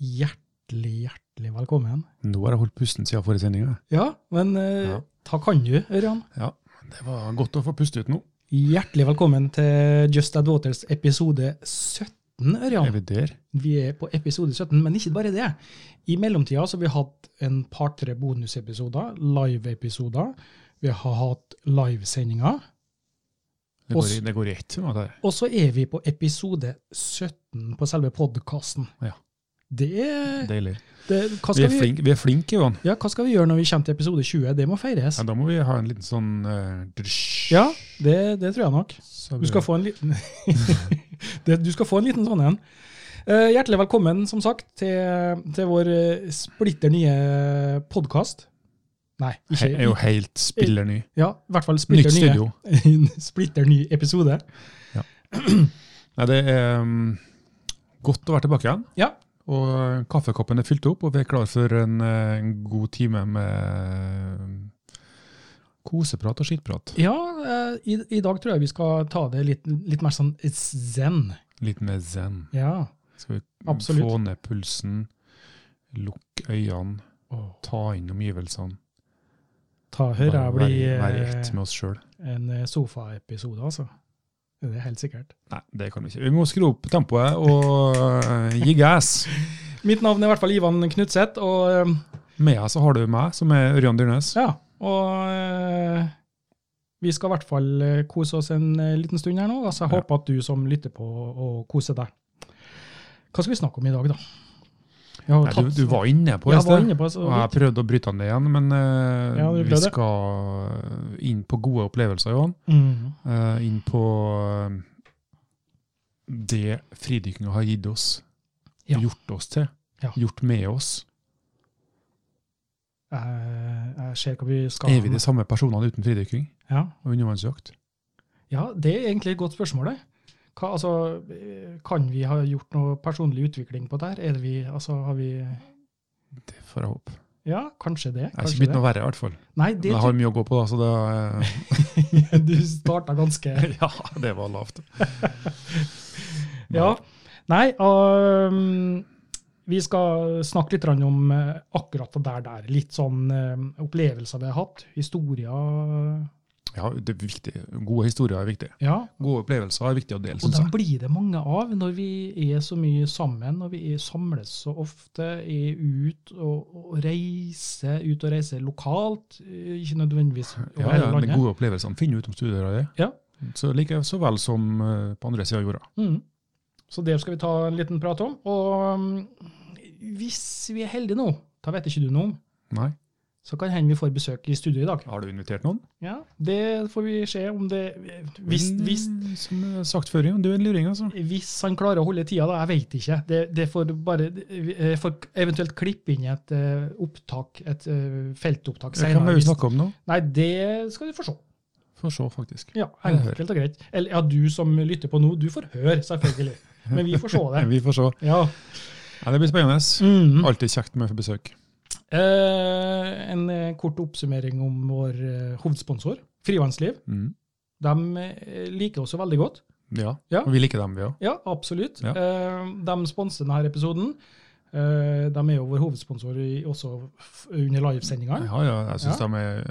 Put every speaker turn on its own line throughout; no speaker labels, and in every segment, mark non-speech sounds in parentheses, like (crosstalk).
hjertelig, hjertelig velkommen.
Nå har jeg holdt pusten siden forrige sending. jeg.
Ja, men eh,
Ja.
ta kan du, Ørjan.
Ja, det var godt å få puste ut nå.
Hjertelig velkommen til Just Ad Waters episode 17,
Er
Ørjan.
vi der?
Vi er på episode 17, men ikke bare det. I mellomtida så har vi hatt en par-tre bonusepisoder, live-episoder. Vi har hatt livesendinger.
Det går, i- det går i ett. nå, det her.
Og så er vi på episode 17 på selve podkasten.
Ja.
Det er,
Deilig.
det, hva,
Vi
skal
er
vi,
flinke, vi er flinke Johan.
ja, hva skal vi gjøre når vi kommer til episode 20? Det må feires.
Ja, da må vi ha en liten sånn eh, drysj.
Ja, det, det tror jeg nok.
Så
Du skal få en liten, (laughs) det, du skal få en liten sånn en. Eh, hjertelig velkommen, som sagt, til, til vår eh, splitter nye podkast. Nei,
He-
ikke
er jo helt spiller ny.
Ja, i hvert fall
Nytt
splitter nye.
studio.
(laughs) splitter ny episode.
Nei, det er mm, godt å være tilbake igjen.
Ja.
Og eh, kaffekoppen er fylt opp, og vi er klar for en, eh, en god time med eh, koseprat og skittprat.
Ja, eh, i, i dag tror jeg vi skal ta det litt, litt mer sånn zen.
Litt mer zen.
Ja.
Skal vi
Absolutt.
få ned pulsen, lukke øynene, ta inn omgivelsene.
Ta hører jeg
Bare
blir
være, være i ett
eh,
med oss sjøl.
en eh, sofaepisode, altså. Det er helt sikkert.
Nei, det kan vi ikke. Vi må skru opp tempoet og eh, gi gass.
Mitt navn er i hvert fall Ivan Knutseth, og eh,
Med deg så har du meg, som er Ørjan Dyrnes.
Ja, og eh, vi skal i hvert fall eh, kose oss en eh, liten stund her nå. Altså, jeg
Ja.
håper at du som lytter på, og koser deg. Hva skal vi snakke om i dag, da? Jeg har
Nei, du,
tatt-
du var inne på det
jeg
i
var
sted.
inne på det. så
Og jeg
vidt.
prøvde å bryte han ned igjen, men eh,
Ja, du
vi
prøvde.
skal inn på gode opplevelser, Johan.
Mm.
Eh, inn på eh, det fridykkinga har gitt oss.
Ja.
Gjort oss til.
Ja.
Gjort med oss.
Jeg, jeg ser hva vi skal
Er vi de samme personene uten fridykking
Ja.
og undervannsjakt?
ja, det er egentlig et godt spørsmål. det. Hva, altså, eh, kan vi ha gjort noe personlig utvikling på det her? Er det vi, altså, har vi
Det får jeg håpe.
Ja, kanskje det.
Jeg har ikke
kanskje
blitt
det.
noe verre, i hvert fall.
Nei,
Men
det
jeg har mye å gå på, da, så det,
(laughs)
eh,
du starta ganske
ja, det var lavt.
Ja. Nei, ehm, vi skal snakke litt grann om eh, akkurat det der der. Litt sånn eh, opplevelser vi har hatt, historier.
Ja, det er viktig. Gode historier er viktig.
Ja,
Gode opplevelser er viktig å dele,
og
syns
dem
jeg.
blir det mange av når vi er så mye sammen, og vi er, samles så ofte, er ut og, og reiser, ut og reiser lokalt, eh, ikke nødvendigvis over
Ja, ja,
hele
de
landet.
gode opplevelsene finner du ut om studier.
Ja.
Så like så vel som eh, på andre sida av jorda.
Mm. Så det skal vi ta en liten prat om. Og mm, hvis vi er heldige nå, da vet ikke du noe om,
Nei.
så kan hende vi får besøk i studio i dag.
Har du invitert noen?
Ja, det får vi se om det Hvis,
Mm,
hvis,
Som jeg har sagt før, Jon, du er en luring, altså.
hvis han klarer å holde tida, da. Jeg veit ikke. Det, det får bare Jeg får eventuelt klippe inn i et eh, opptak, et eh, feltopptak
Hvem
senere.
er vi
hvis-
snakker om nå?
Nei, det skal du få se.
Får se, faktisk.
Ja,
Jeg hører.
enkelt og greit. Eller ja, du som lytter på nå, du får høre,
(laughs)
selvfølgelig. Men vi får se det.
Vi får se.
Ja.
Ja, det blir spennende.
Mm.
Alltid kjekt med besøk.
Eh, en eh, kort oppsummering om vår eh, hovedsponsor, Frivannsliv.
Mm.
De eh, liker oss jo veldig godt.
Ja.
Ja.
Og vi liker dem, vi òg.
Ja, absolutt.
Ja.
Eh, de sponser denne episoden. Eh, de er jo vår hovedsponsor i, også f under livesendinga.
Ja, ja, jeg synes de, er,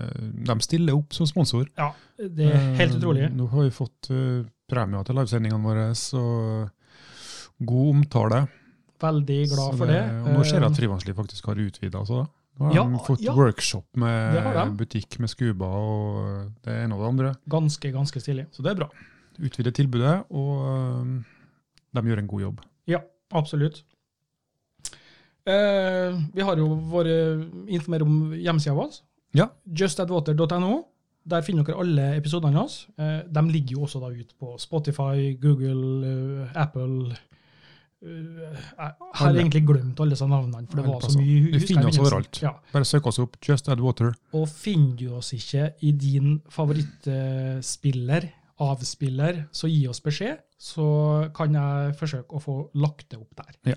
de stiller opp som sponsor.
Ja, det er helt
Eh,
utrolig.
Nå har vi fått eh, premier til livesendingene våre, så god omtale.
Veldig glad
Så
for det.
og nå ser jeg
Eh,
at Frivannsliv faktisk har utvida. Altså. Nå har
Ja,
de fått
ja.
workshop
Det har
med
de.
butikk med Scuba og det ene og det andre.
ganske, ganske stilig.
Så det er bra. Utvide tilbudet, og eh, de gjør en god jobb.
Ja, absolutt. Eh, vi har jo våre informer om hjemmesida vår,
Ja.
justadwater.no. Der finner dere alle episodene hans. Eh, de ligger jo også da ut på Spotify, Google, eh, Apple eh, Jeg har
Alle.
egentlig glemt alle disse navnene, for det
Alle
var så
plasser.
mye.
Du
husker jeg i
finner oss
begynnelsen.
overalt.
Ja.
Bare søk oss opp. Just Add Water.
Og finner du oss ikke i din favorittspiller, avspiller, så gi oss beskjed, så kan jeg forsøke å få lagt det opp der.
Ja.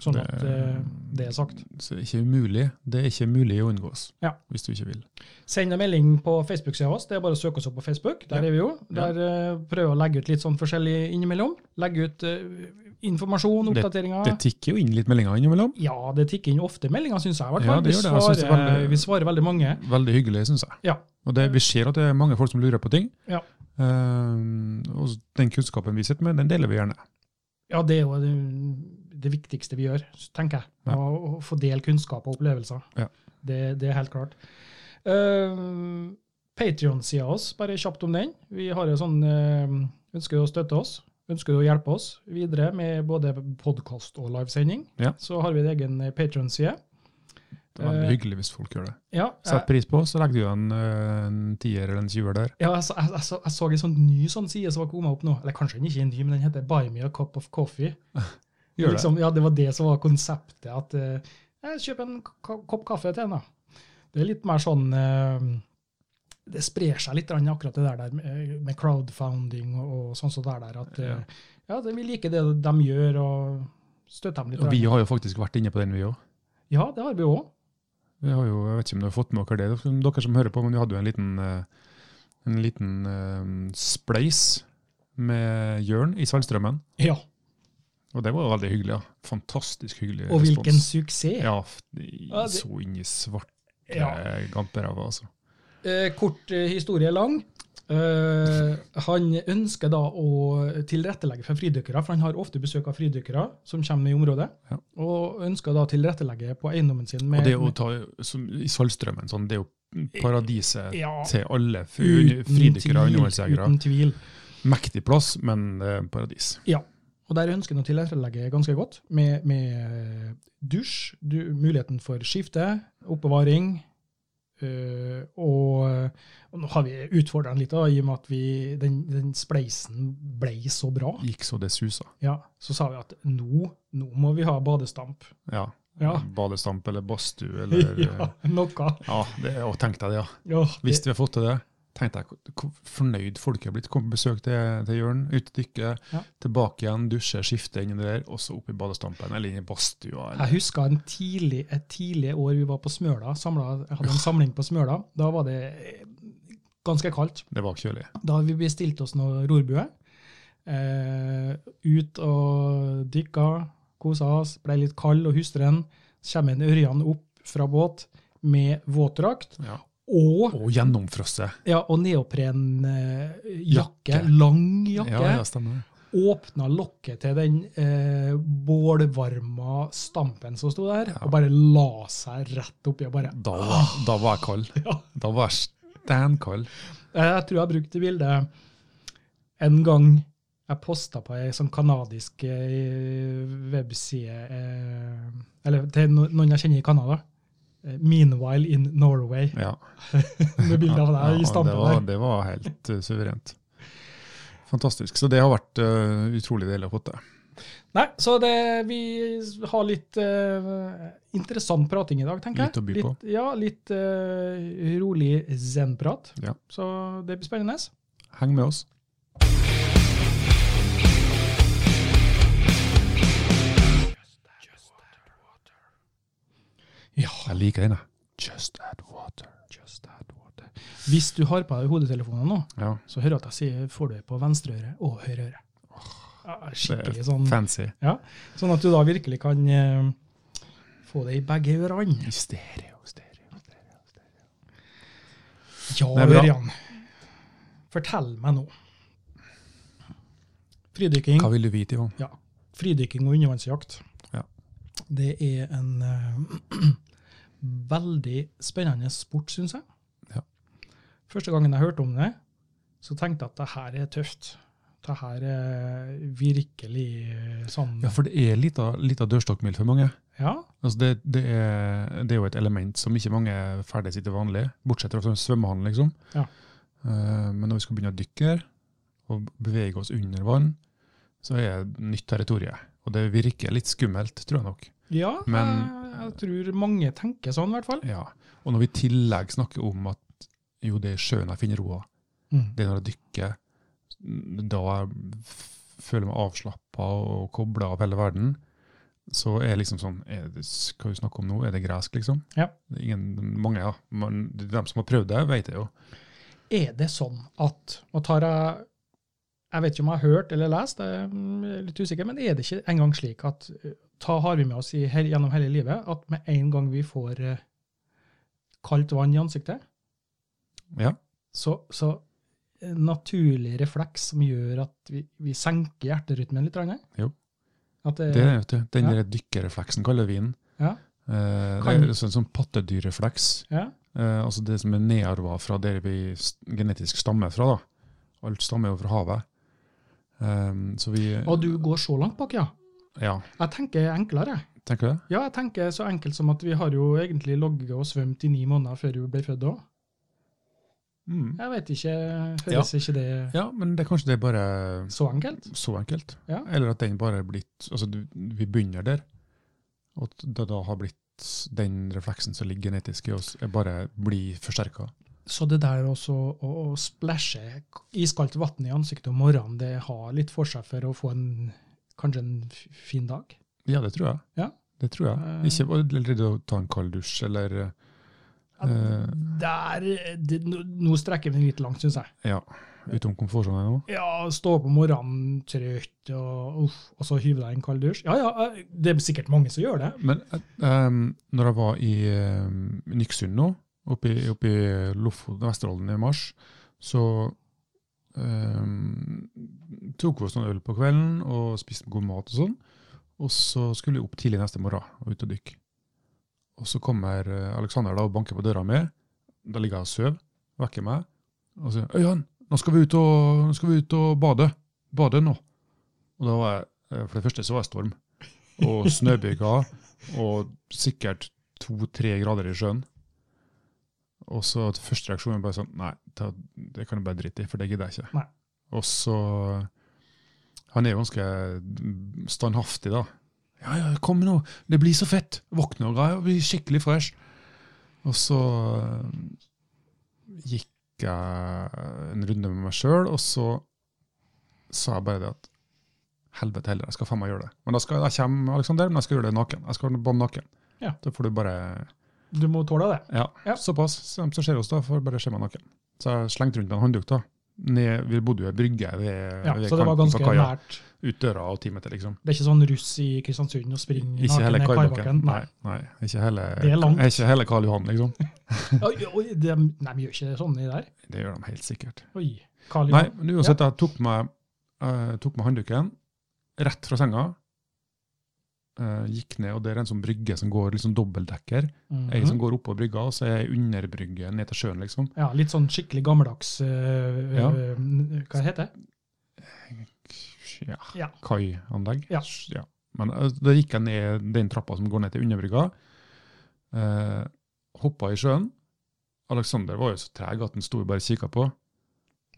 Sånn
Det-
at eh, Det er sagt.
Så det er ikke umulig. Det er ikke mulig å unngås,
Ja.
hvis du ikke vil.
Send en melding på Facebook-sida vår. Det er bare å søke oss opp på Facebook. Der
Ja.
er vi jo.
Ja.
Der eh, prøver vi å legge ut litt sånn forskjellig innimellom. Legge ut eh, informasjon, oppdateringer.
Det tikker jo inn litt meldinger innimellom.
ja, det tikker inn ofte meldinger, syns jeg. i hvert
Ja,
fall.
det
vi,
gjør det. Jeg synes det er
svarer,
veldig-
vi svarer veldig mange.
Veldig hyggelig, syns jeg.
Ja.
Og det, Vi ser at det er mange folk som lurer på ting.
Ja.
Ehm, og den kunnskapen vi sitter med, den deler vi gjerne.
ja, det er jo det, det viktigste vi gjør, tenker jeg.
Ja.
Å, å få dele kunnskap og opplevelser.
Ja.
Det, det er helt klart. Uh, Patrion-sida oss, bare kjapt om den. Vi har jo sånn eh, Ønsker du å støtte oss? Ønsker du å hjelpe oss videre med både podkast og livesending?
Ja.
Så har vi en egen Patrion-side.
Det er veldig
Eh.
hyggelig hvis folk gjør det.
Ja,
Sett
jeg,
pris på, så legger du igjen eh, en tier eller en tjuer der.
ja, jeg, så- jeg, jeg, så- jeg så en sånn ny sånn side som har kommet opp nå. Eller kanskje den ikke er ny, men den heter Buy me a cup of coffee.
(laughs) Gjør
liksom, Ja, det var det som var konseptet. At eh, jeg kjøper en ka- kopp kaffe til henne. Det er litt mer sånn eh, Det sprer seg litt grann akkurat det der, der med- med crowdfounding og, og sånn som det er der. At eh, ja, det, vi liker det de gjør, og støtter dem
det.
litt.
Og vi
grann.
har jo faktisk vært inne på den, vi òg.
Ja, det har vi òg.
Vi har jo, jeg vet ikke om dere har fått med dere det, som dere som hører på, men vi hadde jo en liten, eh, en liten eh, spleis med Jørn i Saltstrømmen.
Ja,
Og det var jo veldig hyggelig. ja. Fantastisk hyggelig
og hvilken
respons.
suksess!
Ja, f- de
Ja, det-
så inn i svarte
Ja.
gamperæva, altså.
Eh, kort eh, historie lang. Eh, han ønsker da å tilrettelegge for fridykkere, for han har ofte besøk av fridykkere som kommer i området.
Ja.
Og ønsker da å tilrettelegge på eiendommen sin
Og
med
det å ta som, i Saltstrømmen, sånn, det er jo paradiset
Eh, ja,
til alle fri-
uten
fridykkere og
tvil,
undervannsjegere.
Uten tvil.
Mektig plass, men eh, paradis.
Og der ønsker han å tilrettelegge ganske godt, med, med dusj, du, muligheten for skifte, oppbevaring. eh, og, og nå har vi utfordra han litt, da, i og med at vi, den, den spleisen ble så bra.
Gikk så det susa.
Ja, så sa vi at nå, nå må vi ha badestamp.
Ja.
Ja. (laughs)
Mm, Badestamp eller badstue eller eh,
ja, noe.
Ja, det, og tenk deg det, ja.
Ja,
Hvis
det,
vi har fått til det, tenk deg hvor- hvor fornøyd folk har blitt. Kom på besøk til, til Jørn, ut og dykke,
Ja.
tilbake igjen, dusje, skifte inn i det der, og så opp i badestampen eller inn i badstua.
jeg
eller-
husker en tidlig, et tidlig år vi var på Smøla. Samlet, jeg hadde en samling på Smøla. Da var det eh, ganske kaldt.
Det var kjølig.
Da hadde vi bestilt oss noe rorbue. Eh, ut og dykka, kosa oss, ble litt kald og hustren. Så kommer en Ørjan opp fra båt med våtdrakt
Ja.
og,
Og gjennomfrosset.
ja, og neoprenjakke. Eh, jakke.
Jakke.
Lang jakke.
Ja, ja, stemmer det.
åpna lokket til den eh, bålvarma stampen som sto der,
Ja.
og bare la seg rett oppi. og bare, (laughs)
Da, var- da var jeg kald.
ja.
Da var jeg steinkald.
Jeg tror jeg brukte bildet en gang jeg posta på ei sånn kanadisk eh, webside eh, Eller til no- noen jeg kjenner i Canada. Eh, Meanwhile in Norway, (laughs)
Ja.
med bilder av
Ja,
deg i
det,
stampen der.
var, det var helt eh, suverent. Fantastisk. Så det har vært eh, utrolig deilig å få til.
Nei, så det, vi har litt eh, interessant prating i dag, tenker jeg.
Litt å by på.
Ja, litt eh, rolig zen-prat.
Ja.
Så det blir spennende.
Heng med oss.
Ja.
Jeg liker den, jeg. Just add water.
Hvis du har på deg hodetelefoner nå,
Ja,
så hører jeg at jeg sier får du det på venstre øre og høyre øre. Ja,
det
skikkelig
er
sånn,
fancy.
sånn at du da virkelig kan eh, få det i begge ørene.
I stereo, stereo, stereo.
Ja,
Det er bra.
Ørjan. Fortell meg nå. Fridykking.
Hva vil du vite, Ivan?
Ja. Fridykking og undervannsjakt.
Ja.
Det er en eh, (clears throat) veldig spennende sport, syns jeg.
Ja.
Første gangen jeg hørte om det, så tenkte jeg at det her er tøft. Det her er virkelig eh, sånn
Ja, for det er litt av, litt av dørstokkmil for mange.
Ja,
Altså det, det, er, det er jo et element som ikke mange ferdes i til vanlig, bortsett fra sånn svømmehallen, liksom.
Ja.
Eh, men når vi skal begynne å dykke her, og bevege oss under vann, så er det nytt territorium. Og det virker litt skummelt, tror jeg nok.
ja
Men-
jeg, jeg tror mange tenker sånn, i hvert fall.
Ja. Og når vi i tillegg snakker om at jo, det er sjøen jeg finner roa,
Mm.
det er når jeg dykker, da jeg f- føler meg avslappa og kobla av hele verden, så er det liksom sånn er det, Hva vi snakker om nå, er det gresk, liksom?
Ja.
Det er ingen, mange, ja. Men de som har prøvd det, vet det jo.
Er det sånn at Nå tar jeg Jeg vet ikke om jeg har hørt eller lest, jeg er litt usikker, men er det ikke engang slik at eh, ta har vi med oss i, her, gjennom hele livet at med en gang vi får eh, kaldt vann i ansiktet,
Ja.
så, så en naturlig refleks som gjør at vi, vi senker hjerterytmen litt? Ranne?
Jo.
At det,
Det er det, vet du. Den
Eh, Ja.
der dykkerrefleksen kaller vi den.
Ja.
Eh,
Kan-
det er sånn, sånn pattedyrrefleks.
ja,
Eh, altså det som er nedarva fra der vi s- genetisk stammer fra. da. Alt stammer jo fra havet. Eh, så vi
Og du går så langt bak, ja.
Ja,
Jeg tenker enklere. jeg.
tenker du det?
Ja, jeg tenker så enkelt som at vi har jo egentlig logget og svømt i ni måneder før vi ble født òg.
Mm.
Jeg vet ikke, høres ikke det
Ja, men det, kanskje det er bare
så enkelt?
så enkelt.
Ja.
Eller at den bare er blitt Altså, du, vi begynner der, og at det da har blitt den refleksen som ligger genetisk i oss, er bare blir forsterka.
Så det der også å, å splæsje iskaldt vann i ansiktet om morgenen, det har litt for seg for å få en kanskje en f- fin dag?
Ja, det tror jeg.
Ja.
Det tror jeg.
Eh.
Ikke bare- eller det å ta en kald dusj, eller eh,
Ja, Der, det, nå- nå strekker vi den litt langt, syns jeg.
eh, Ja, utom komfortsonen nå.
Ja, stå opp om morgenen trøtt, og, uff, og så hyve deg i en kald dusj. Ja ja, eh, det er sikkert mange som gjør det.
Men eh, em, når jeg var i um, Nyksund nå, oppe i, oppe i Lofoten Vesterålen i mars, så em, tok vi oss noen øl på kvelden og spiste god mat og sånn. Og så skulle vi opp tidlig neste morgen og ut og dykke. Og så kommer eh, Alexander da og banker på døra mi. Da ligger jeg og sover, vekker meg og sier Øyan, nå skal vi ut og, nå skal vi ut og bade. Bade nå. Og da var jeg, eh, For det første så var det storm og snøbyger og sikkert to-tre grader i sjøen. Og så at første reaksjon er bare sånn Nei, ta, det kan du bare drite i, for det gidder jeg ikke.
Nei.
Og så Han er jo ganske standhaftig, da. Ja, ja, kom nå, det blir så fett! Våkne og greier, blir skikkelig fresh. Og så eh, gikk jeg en runde med meg sjøl, og så sa jeg bare det at helvete heller, jeg skal faen meg gjøre det. Men da skal jeg komme, Alexander, men jeg skal gjøre det naken. Jeg skal bade naken.
Ja.
Da får du bare
Du må tåle det.
Ja,
Ja.
såpass. Så de som ser oss, da, får bare se meg naken. Så jeg slengte rundt meg en håndduk, da. Ned, vi bodde jo i ei brygge ved,
Ja,
ved
så det var
kanten
ganske
på kaia.
nært.
Ut døra og ti meter, liksom.
Det er ikke sånn russ i Kristiansund og spring
Ikke hele Kaibakken.
Nei.
Nei, nei, ikke hele,
Det er langt.
ikke hele Karl Johan, liksom.
Oi, oi, de, nei, vi gjør ikke sånn i der.
Det gjør de helt sikkert.
Oi, Karl
Nei,
Johan.
men uansett, jeg tok meg, eh, tok meg håndduken rett fra senga, eh, gikk ned, og det er en sånn brygge som går liksom dobbeltdekker.
Mhm.
Ei som går oppå brygga, og så er ei under brygga ned til sjøen, liksom.
Ja, litt sånn skikkelig gammeldags øh,
Ja.
øh, Hva heter det?
Ja,
Ja.
Kaianlegg.
Ja.
Ja. Men eh, da gikk jeg ned den trappa som går ned til underbrygga, eh, hoppa i sjøen. Alexander var jo så treg at han sto og bare kikka på.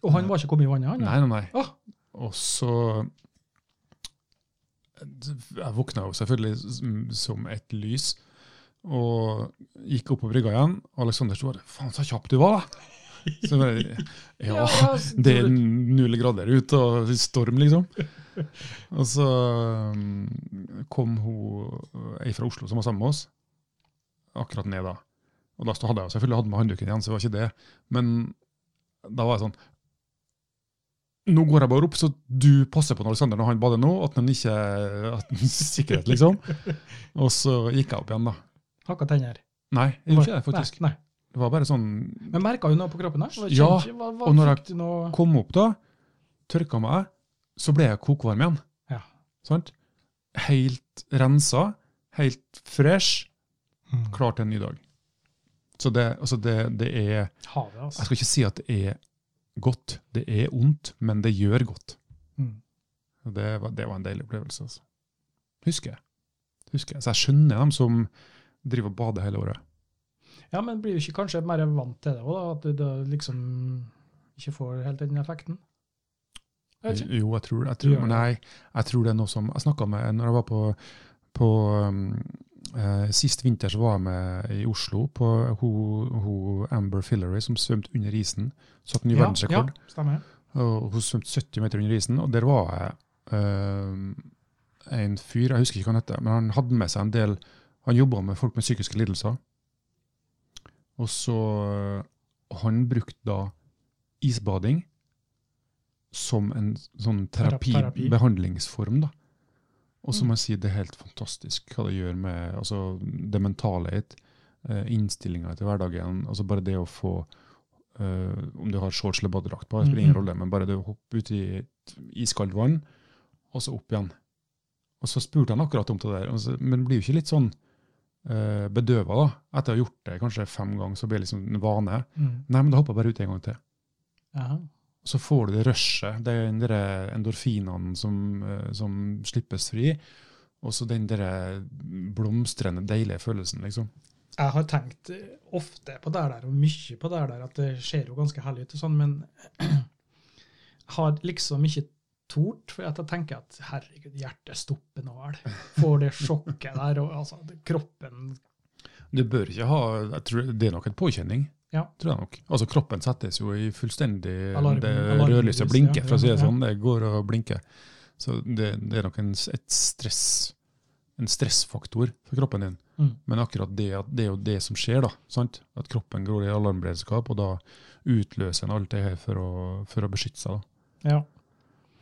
Og han var ikke kommet i vannet, han?
Nei, nei, nei.
Åh.
Og så Jeg våkna jo selvfølgelig som- som et lys, og gikk opp på brygga igjen. Og Alexander sto bare 'Faen, så kjapp du var', da! Så jeg bare, ja,
s-
det er null grader ute og storm, liksom. Og så um, kom hun eh, ei fra Oslo som var sammen med oss, akkurat ned da. Og da hadde jeg jo selvfølgelig hatt med håndduken igjen, så det var ikke det. Men da var jeg sånn Nå går jeg bare opp, så du passer på når Alexander når han bader nå, at han ikke eh, at han Sikkerhet, liksom. Og så gikk jeg opp igjen, da.
Hakka tenner.
Nei, jeg gjorde ikke det, faktisk.
Nei, nei.
Det var bare sånn
Men merka du noe på kroppen her?
Ja, og når jeg-
jeg noe...
kom opp da, tørka meg, så ble jeg kokvarm igjen.
Ja.
Sant? Helt rensa, helt fresh, klar til en ny dag. Så det, altså det, det er Jeg
Havet, altså.
skal ikke si at det er godt. Det er ondt, men det gjør godt.
Mm.
Og Det var, det var en deilig opplevelse. altså. Husker jeg. Husker jeg. Så jeg skjønner dem som driver og bader hele året.
Ja, men blir du ikke kanskje mer vant til det òg, da? At du da liksom ikke får helt den effekten? Jeg vet ikke.
Jo, jeg tror, jeg
Du
tror,
gjør det.
nei, jeg tror det er noe som Jeg snakka med Når jeg var på, på um, eh, Sist vinter så var jeg med i Oslo på hun, hun Amber Fillery som svømte under isen. Satt ny verdensrekord.
Ja, ja, stemmer.
Og hun svømte 70 meter under isen, og der var jeg eh, en fyr, jeg husker ikke hva han heter, men han hadde med seg en del Han jobba med folk med psykiske lidelser. Og så øh, Han brukte da isbading som en sånn terapi,
Terapi.
behandlingsform, da. Og så
Mm.
må jeg si det er helt fantastisk hva det gjør med altså, det mentale ditt, eh, innstillinga til hverdagen. altså Bare det å få eh, Om du har shorts eller badedrakt på, det spiller ingen
Mhm.
rolle, men bare det å hoppe ut i et iskaldt vann, og så opp igjen. Og så spurte han akkurat om det der, og så, men det blir jo ikke litt sånn eh, bedøva da, etter å ha gjort det kanskje fem ganger, så blir det liksom en vane.
Mm.
Nei, men da hopper jeg bare ut en gang til.
Aha.
Og så får du det rushet, det er den der endorfinene som, eh, som slippes fri, og så den der blomstrende, deilige følelsen, liksom.
Jeg har tenkt eh, ofte på det der, og mye på det der, at det ser jo ganske herlig ut, og sånn, men (clears throat) jeg har liksom ikke tort, for at jeg tenker at herregud, hjertet stopper nå vel. Får det sjokket der, og altså, kroppen
Du bør ikke ha, jeg tror det er nok en påkjenning,
Ja.
tror jeg nok. Altså kroppen settes jo i fullstendig,
Alarm-
det
alarmlys,
rødlyset blinker, for å si det
ja, ja.
sånn, det går og blinker. Så det, det er nok en, s- et stress, en stressfaktor for kroppen din.
Mm.
Men akkurat det, at det er jo det som skjer da, sant? At kroppen går i alarmberedskap, og da utløser en alt det her for å, for å beskytte seg da.
Ja.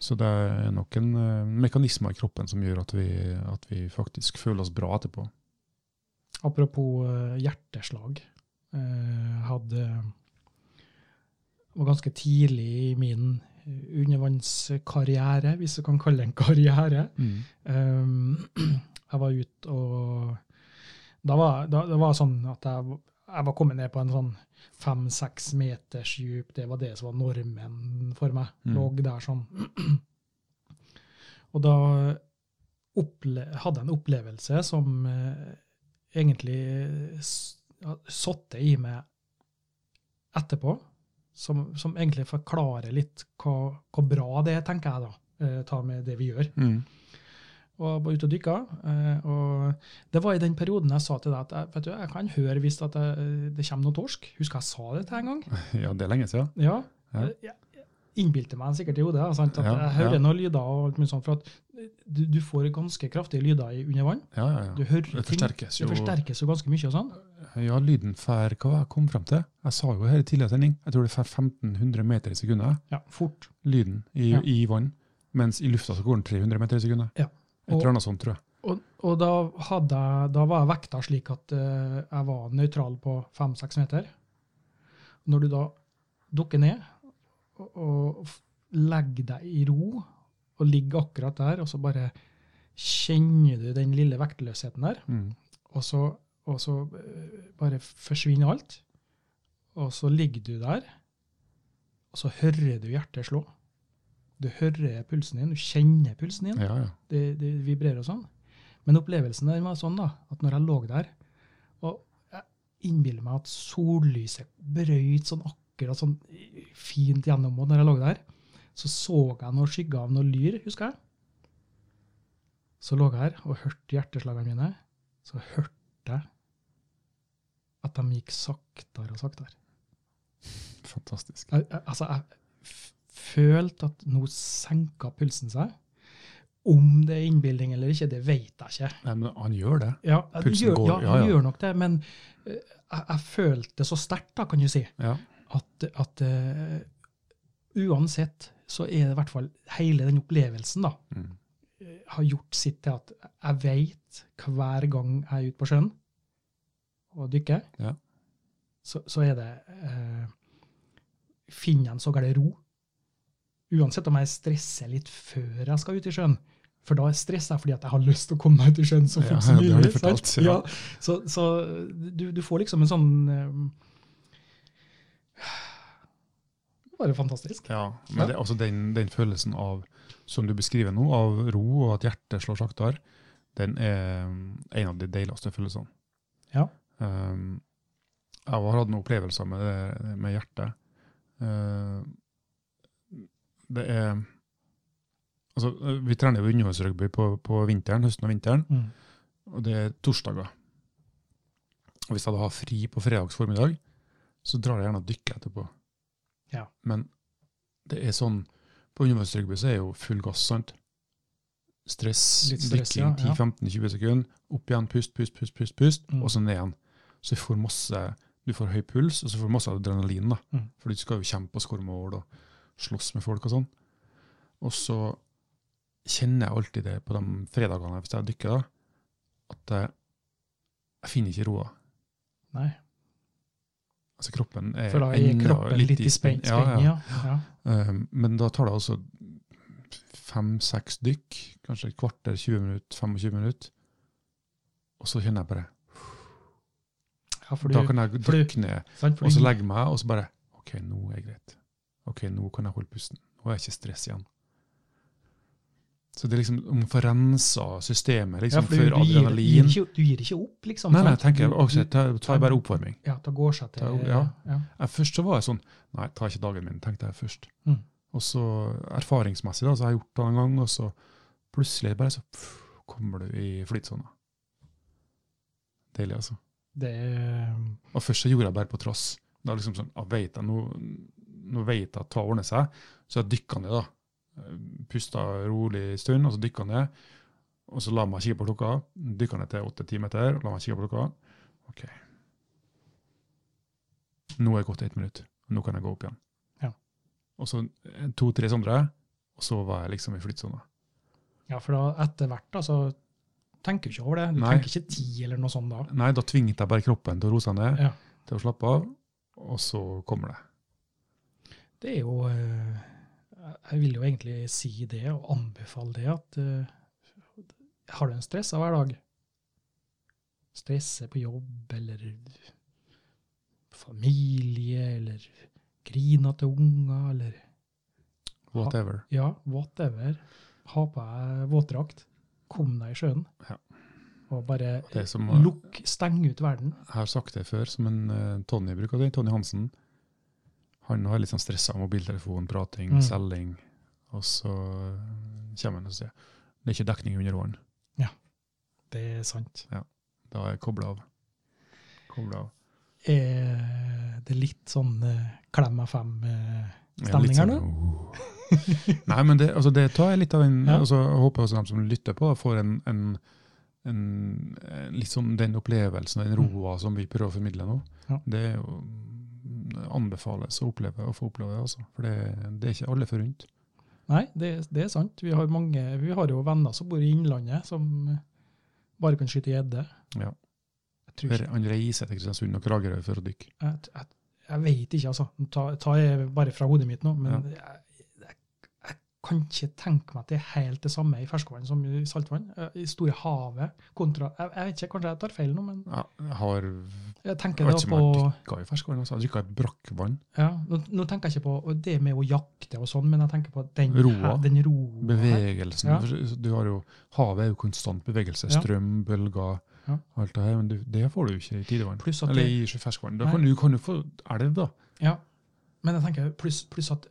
Så det er nok en eh, mekanisme i kroppen som gjør at vi, at vi faktisk føler oss bra etterpå.
Apropos eh, hjerteslag. Eh, hadde var ganske tidlig i min eh, undervannskarriere, hvis du kan kalle det en karriere. Um, (clears throat) jeg var ute og da var, da, Det var sånn at jeg, jeg var kommet ned på en sånn fem-seks meters djup. Det var det som var normen for meg.
Mm.
Lå der sånn. (clears throat) Og da opple hadde jeg en opplevelse som eh, egentlig eh, s- ja, satte i meg etterpå, som, som egentlig forklarer litt hva, hva bra det er, tenker jeg da, eh, tar med det vi gjør
Mm.
og var ute og dykka. eh, Og det var i den perioden jeg sa til deg at jeg, vet du, jeg kan høre hvis at jeg, det kommer noe torsk. Husker jeg sa det til deg en gang?
Ja, det er lenge siden.
Ja.
Ja.
Jeg- Jeg innbilte meg sikkert i hodet. Sant? At
Ja,
jeg
ja.
hører noen lyder og alt mulig sånnt. For at du, du får ganske kraftige lyder i- under vann.
Ja, ja, ja.
Du hører
Det
ting.
forsterkes
Det
jo.
forsterkes jo ganske mye og sånn.
Ja, lyden fær hva var det jeg kom frem til. Jeg sa jo her i tidligere sending, jeg tror det fær 1500 meter i sekundet,
Ja, fort.
lyden i,
Ja.
i vann, mens i lufta så går den 300 meter i sekundet.
Ja.
Et
Og-
eller annet sånt, tror jeg.
Og, og da, hadde, jeg- da var jeg vekta slik at eh, jeg var nøytral på fem-seks meter. Når du da dukker ned og, og f- legger deg i ro og ligger akkurat der, og så bare kjenner du den lille vektløsheten der,
Mm.
og så, og så eh, bare forsvinner alt. Og så ligger du der, og så hører du hjertet slå. Du hører pulsen din, du kjenner pulsen din
Ja, ja.
det, det vibrerer og sånn. Men opplevelsen der var sånn da, at når jeg lå der, og jeg innbiller meg at sollyset brøyt sånn akkurat sånn fint gjennom og når jeg lå der, så så jeg noe skygge av noe lyr, husker jeg. Så lå jeg her og hørte hjerteslagene mine, så hørte jeg at de gikk saktere og saktere.
Fantastisk.
Jeg, jeg- altså, jeg f- følte at nå senka pulsen seg. Om det er innbilning eller ikke, det vet jeg ikke.
Nei, men han gjør det.
Ja, jeg-
Pulsen
gjør,
går,
ja,
ja,
han
ja.
gjør nok det, men eh, jeg, jeg følte det så sterkt, da, kan du si,
Ja.
at, at eh, uansett så er det i hvert fall hele den opplevelsen, da,
Mm.
eh, har gjort sitt til at jeg veit hver gang jeg er ute på sjøen og dykker,
Ja.
så, så er det eh, Finner jeg en såkalt ro. Uansett om jeg stresser litt før jeg skal ut i sjøen. For da stresser jeg fordi at jeg har lyst til å komme meg ut i sjøen så
Ja,
fort som
(laughs) det
mulig.
har du
sant?
fortalt, ja.
så så du, du får liksom en sånn eh, (sighs) Bare fantastisk.
Ja, men det, altså den, den følelsen av, som du beskriver nå, av ro og at hjertet slår saktere, den er eh, en av de deiligste følelsene.
Ja.
Um, jeg har hatt noen opplevelser med, det, med hjertet. Uh, det er Altså, vi trener jo undervannsrugby på, på vinteren, høsten og vinteren,
Mm.
og det er torsdager. Og hvis jeg da har fri på fredags formiddag, så drar jeg gjerne og dykker etterpå.
Ja.
Men det er sånn På undervannsrugby så er jo full gass, sant? Stress,
Litt stress,
drikking
ja, ja.
10-15-20 sekunder, opp igjen, pust, pust, pust, pust, pust
Mm.
og så ned igjen. Så du får masse, du får høy puls, og så får du masse adrenalin, da.
Mm.
For du skal jo kjempe og skåre mål og slåss med folk og sånn. Og så kjenner jeg alltid det på de fredagene hvis jeg dykker, da, at jeg, jeg finner ikke roa.
Nei.
Altså kroppen er
For da er
ennå
kroppen litt, i spenn.
Ja, ja.
spenn, Ja, ja.
Um, Men da tar det altså fem-seks dykk, kanskje et kvarter, 20 minutter, 25 minutter. Og så kjenner jeg bare
ja, for
Da
du,
kan jeg
for du-
dykke ned,
sant, for
og så
du-
legge meg, og så bare OK, nå er det greit. OK, nå kan jeg holde pusten. Nå er jeg ikke stress igjen. Så det er liksom om å få rensa systemet
ja,
liksom,
for du, du, gir,
for
du, gir
adrenalin.
ikke, du gir ikke opp, liksom.
Nei, nei,
sant?
tenker jeg,
Du-
ok,
du-
ta- ta bare oppvarming.
Ja, da går seg til
Ta- ja.
ja.
Jeg, først så var jeg sånn Nei, ta ikke dagen min, tenkte jeg først.
Mm.
Og så erfaringsmessig, da, så har jeg gjort det en gang, og så plutselig bare så pff, kommer du i flytsona. Deilig, altså.
Det er
Og først så gjorde jeg bare på trass. Da liksom sånn, jeg vet jeg, nå, nå vet jeg at det ordner seg, så jeg dykka ned, da. Pusta rolig en stund, og så dykka ned. Og så la meg kikke på klokka. Dykka ned til åtte-ti meter, la meg kikke på klokka. OK. Nå er det gått ett minutt. Nå kan jeg gå opp igjen.
Ja.
Og så eh, to-tre sånne, og så var jeg liksom i flyttsona.
Ja, for da etter hvert da, så tenker du ikke over det. Du
Nei.
tenker ikke ti eller noe sånt da.
Nei, da tvinget jeg bare kroppen til å roe seg ned,
Ja.
til å slappe av, og så kommer det.
Det er jo eh, Jeg vil jo egentlig si det og anbefale det at eh, har du en stressa hverdag, stresse på jobb eller familie eller griner til unger eller
Whatever.
ja, whatever, ha på deg våtdrakt, kom deg i sjøen
Ja.
og bare
Det er som,
lukk, steng ut verden.
Jeg har sagt det før, som en eh, Tonje bruker det, Tonje Hansen. Han har litt sånn stressa av mobiltelefon, prating,
Mm.
selging. Og så eh, kommer han og sier det er ikke dekning under vann.
Det er sant.
Da er jeg kobla av. Kobla av.
Er det litt sånn eh, klem av fem eh,
Jeg er litt
Stemninger
sånn, «Åh». Nei, men det, altså, det tar jeg litt av en
(laughs) Ja.
altså, Jeg håper også de som lytter på, da, får en, en, en, en litt sånn den opplevelsen, den roa som vi prøver å formidle nå.
Mm. Ja.
Det er jo det anbefales å oppleve å få oppleve det, altså. For det, det er ikke alle forunt.
Nei, det, det er sant. Vi har, mange, vi har jo venner som bor i Innlandet, som eh, bare kan skyte gjedde.
Ja.
Jeg, tror ikke-
Han reiser til Kristiansund og Kragerø for å dykke.
jeg, jeg, jeg vet ikke, altså. Ta, ta jeg bare fra hodet mitt nå, men jeg, jeg, jeg kan ikke tenke meg at det er helt det samme i ferskvann som i saltvann. Eh, I store havet kontra Jeg, jeg vet ikke, kanskje jeg tar feil nå, men
Ja, Jeg har
jeg
jeg
tenker
vet
da
ikke om
på
jeg har dykka i ferskvann. Altså. Jeg har dykka i brakkvann.
ja, nå, nå tenker jeg ikke på det med å jakte og sånn, men jeg tenker på den
Roa.
Den roa her.
Bevegelsen.
Ja.
For Du har jo, havet er jo konstant bevegelse.
Ja.
Strøm, bølger,
Ja.
alt det her. Men du, det får du jo ikke i tidevann.
Pluss at
Eller
det-
i sjø- ferskvann. Da
Nei.
kan du, kan du få elv, da.
Ja, men jeg tenker pluss, pluss at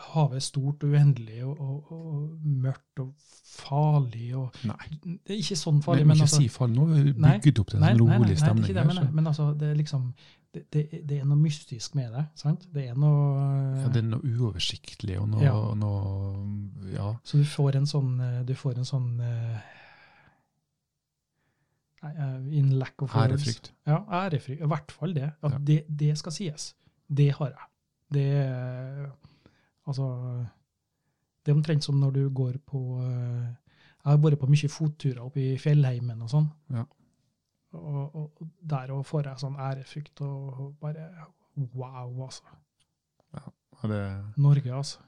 havet er stort og uendelig og, og, og mørkt og farlig og
Nei.
Det er ikke sånn farlig,
Men,
men,
ikke
altså
si fall nå. Vi
Nei.
bygget opp til en sånn
nei,
rolig
det er
stemning.
ikke det,
her,
men,
så-
men altså, det er liksom det, det, det er noe mystisk med det, sant? Det er noe
ja, det er noe uoversiktlig og noe Ja.
Ja.
Noe, ja.
Så du får en sånn eh, Du får en sånn eh, nei, eh, In lack of words.
Ærefrykt.
Ja, ærefrykt. I hvert fall det. At
Ja.
det, det skal sies. Det har jeg. Det er- Altså Det er omtrent som når du går på eh, Jeg har vært på mye fotturer oppe i fjellheimen og sånn.
Ja.
Og, og, og der også får jeg sånn ærefrykt og og bare Wow, altså.
Ja, det,
Norge, altså.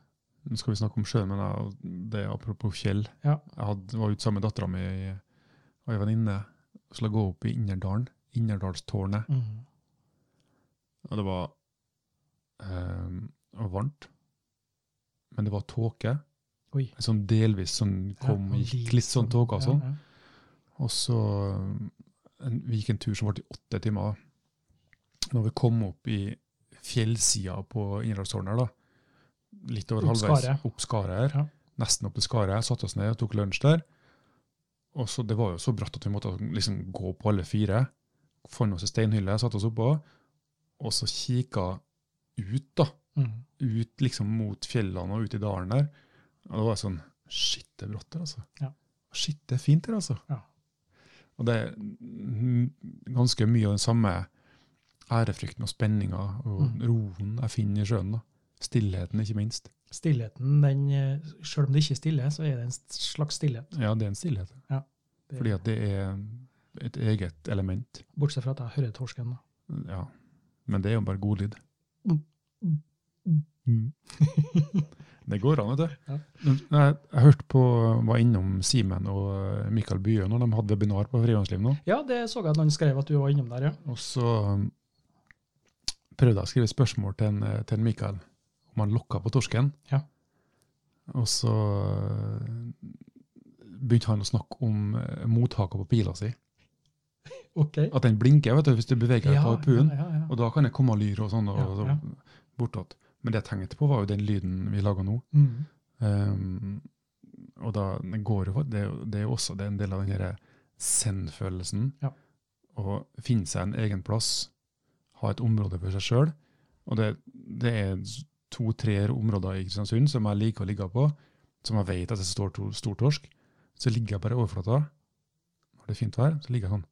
nå skal vi snakke om sjøen, men jeg- det er apropos fjell.
Ja.
Jeg hadde, var ute sammen med dattera mi og ei venninne og skulle gå opp i Innerdalen, Innerdalstårnet.
Mm.
Og det var eh, det var varmt, men det var tåke.
Oi.
Sånn delvis sånn kom
Ja,
og gikk, litt sånn tåke og
ja,
sånn.
ja.
Og så eh, en, vi gikk en tur som varte i åtte timer. Når vi kom opp i fjellsida på Innerdalstårnet, her da, litt over
Opp
halvveis
Skaret.
opp Skaret her,
Ja.
nesten opp til Skaret, satte oss ned og tok lunsj der. Og så Det var jo så bratt at vi måtte liksom gå på alle fire. Fant oss ei steinhylle, satte oss oppå, og så kikka ut, da.
Mm.
Ut liksom mot fjellene og ut i dalen der. Og det var sånn Shit, det er bratt der, altså.
Ja.
Shit, det er fint her, altså.
Ja.
Og det er mm, ganske mye av den samme ærefrykten og spenninga og
Mm.
roen jeg finner i sjøen. da. Stillheten, ikke minst.
Stillheten, den, eh, selv om det ikke er stille, så er det en slags stillhet.
Ja, det er en stillhet.
Det-
Fordi at det er et eget element.
Bortsett fra at jeg hører torsken. da.
Ja. Men det er jo bare god lyd.
Mm.
Mm. (laughs) Det går an, vet du.
Ja.
Men Jeg, jeg hørte på, var innom Simen og Mikael Bye når de hadde webinar på Frihåndsliv nå.
Ja, det så jeg at noen skrev at du var innom der, ja.
Og så um, prøvde jeg å skrive spørsmål til, en, eh, til en Mikael om han lokka på torsken.
Ja.
Og så eh, begynte han å snakke om eh, mottaket på pila si.
Ok.
At den blinker vet du, hvis du beveger deg på puen.
Ja, ja, ja.
Og da kan det komme lyr og sånn og,
Ja, ja.
og bortåt. Men det jeg tenkte på, var jo den lyden vi laga nå.
Mm.
Um, og da det går jo, det, er jo- det er jo også det er en del av den derre zen-følelsen.
Ja.
Å finne seg en egen plass, ha et område for seg sjøl. Og det, det er to-tre områder i Kristiansund som jeg liker å ligge på, som jeg vet at det står to, stor torsk. Så ligger jeg bare i overflata. Har det fint vær, så ligger jeg sånn.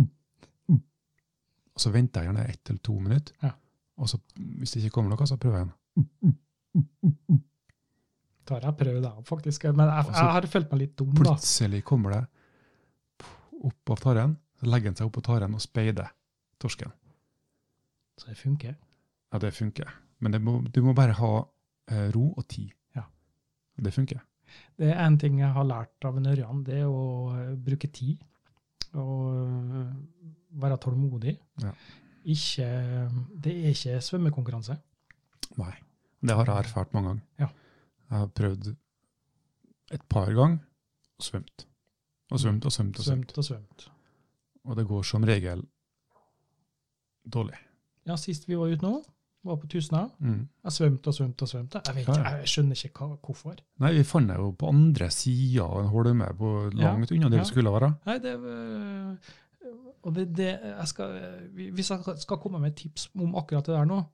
Og så venter jeg gjerne ett eller to minutter.
Ja.
Og så, hvis det ikke kommer noe, så prøver jeg igjen.
Da har jeg prøvd det, faktisk. Men jeg,
Og så-
jeg har følt meg litt dum, da.
Plutselig kommer det opp av taren, så legger den seg opp på taren og speider torsken.
Så det funker.
Ja, det funker. Men det må, du må bare ha eh, ro og tid.
Ja.
Det funker.
Det er en ting jeg har lært av en Ørjan, det er å eh, bruke tid. Og eh, være tålmodig.
Ja.
Ikke, det er ikke svømmekonkurranse.
Nei. Det har jeg erfart mange ganger.
Ja.
Jeg har prøvd et par ganger og svømt. Og svømt og svømt og svømt.
Svømt og svømt.
Og det går som regel dårlig.
Ja, sist vi var ute nå, var på Tusna.
Mm.
Jeg svømte og svømte og svømte. Jeg, vet,
Ja,
ikke-
ja.
jeg skjønner ikke hva, hvorfor.
Nei, vi fant det jo på andre sida av en holme, på-
Ja.
langt unna det
Ja.
vi skulle være.
Nei, det øh, Og det, det jeg skal, øh, Hvis jeg skal komme med et tips om akkurat det der nå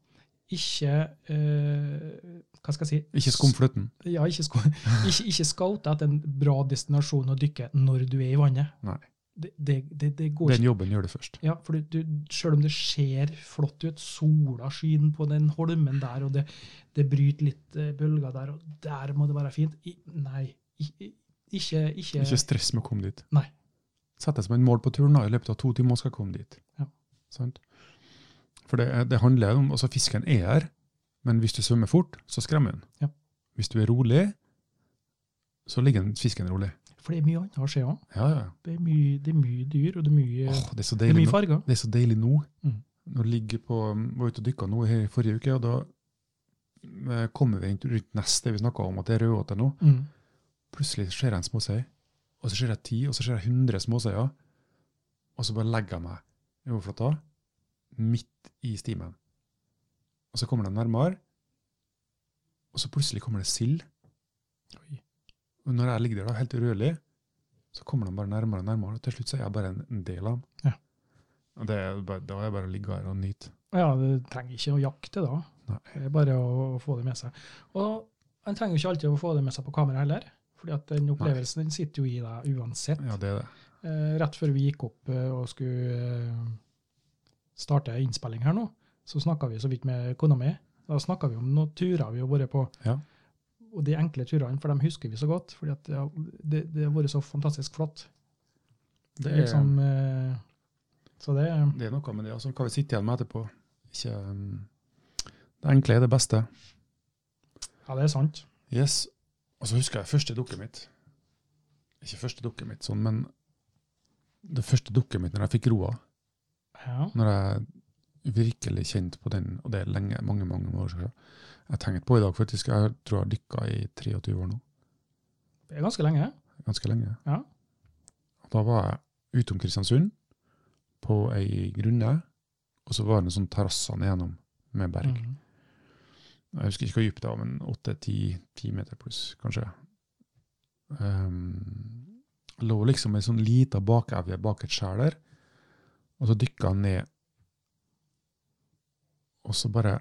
Ikke øh, Hva skal jeg si?
Ikke skum fløten.
Ja, ikke, sko, (laughs) ikke, ikke scout etter en bra destinasjon å dykke når du er i vannet.
Nei.
Det, det, det, det går
Den
ikke.
jobben gjør du først.
Ja, for du, du, selv om det ser flott ut, sola skinner på den holmen der, og det, det bryter litt eh, bølger der, og der må det være fint. I, nei, i- i- ikke, ikke,
Ikke stress med å komme dit.
Nei.
Sett deg som en mål på turen da, i løpet av to timer skal jeg komme dit.
Ja.
Sant? For det, er- det handler om, altså fisken er her, men hvis du svømmer fort, så skremmer den.
Ja.
Hvis du er rolig, så ligger den fisken rolig.
For det er mye annet å se òg.
Ja, ja.
Det er mye, det er mye dyr, og det er mye,
Åh, det er så
det er
deilig
mye
nå.
farger.
Det er så deilig nå.
Mm.
Når jeg ligger på, var ute og dykket nå her i forrige uke, og da eh, kommer vi rundt rundt neste vi snakket om, at det er rødåter nå.
Mm.
Plutselig ser jeg en småsei, og så ser jeg ti, og så ser jeg hundre småseier. Og så bare legger jeg meg i overflata, midt i stimen. Og så kommer de nærmere, og så plutselig kommer det sild.
Oi.
Og når jeg ligger der da, helt urørlig, så kommer de bare nærmere og nærmere, og til slutt så er jeg bare en, en del av dem.
Ja.
Og det er bare, da er jeg bare å ligge her og nyte.
Ja, du trenger ikke å jakte da.
Nei.
Det er bare å, å få det med seg. Og en trenger jo ikke alltid å få det med seg på kamera heller, fordi at den opplevelsen den sitter jo i deg uansett.
Ja, det er det.
Eh, rett før vi gikk opp eh, og skulle eh, starte innspilling her nå, så snakka vi så vidt med kona mi. Da snakka vi om noen turer vi har vært på.
Ja.
Og de enkle turene, for dem husker vi så godt. fordi at ja, det, det har vært så fantastisk flott.
Det er,
liksom, eh, så det er
det er noe med det. Altså, hva vi sitter igjen med etterpå. Ikke, um, det enkle er det beste.
Ja, det er sant.
Yes. Og så husker jeg første dukket mitt. Ikke første dukket mitt, sånn, men det første dukket mitt når jeg fikk roa.
Ja.
Når jeg virkelig kjente på den, og det er lenge, mange mange år siden. Jeg tenkte på i dag, faktisk, jeg tror jeg har dykka i 23 år nå.
Det er ganske lenge.
Ganske lenge.
Ja.
Og Da var jeg utom Kristiansund, på ei grunne, og så var det en sånn terrassene igjennom med berg.
Mhm.
Jeg husker ikke hvor dypt det var, men 8-10 meter pluss, kanskje. Um, lå liksom en sånn lita bakevje bak et skjær der, og så dykka han ned. Og så bare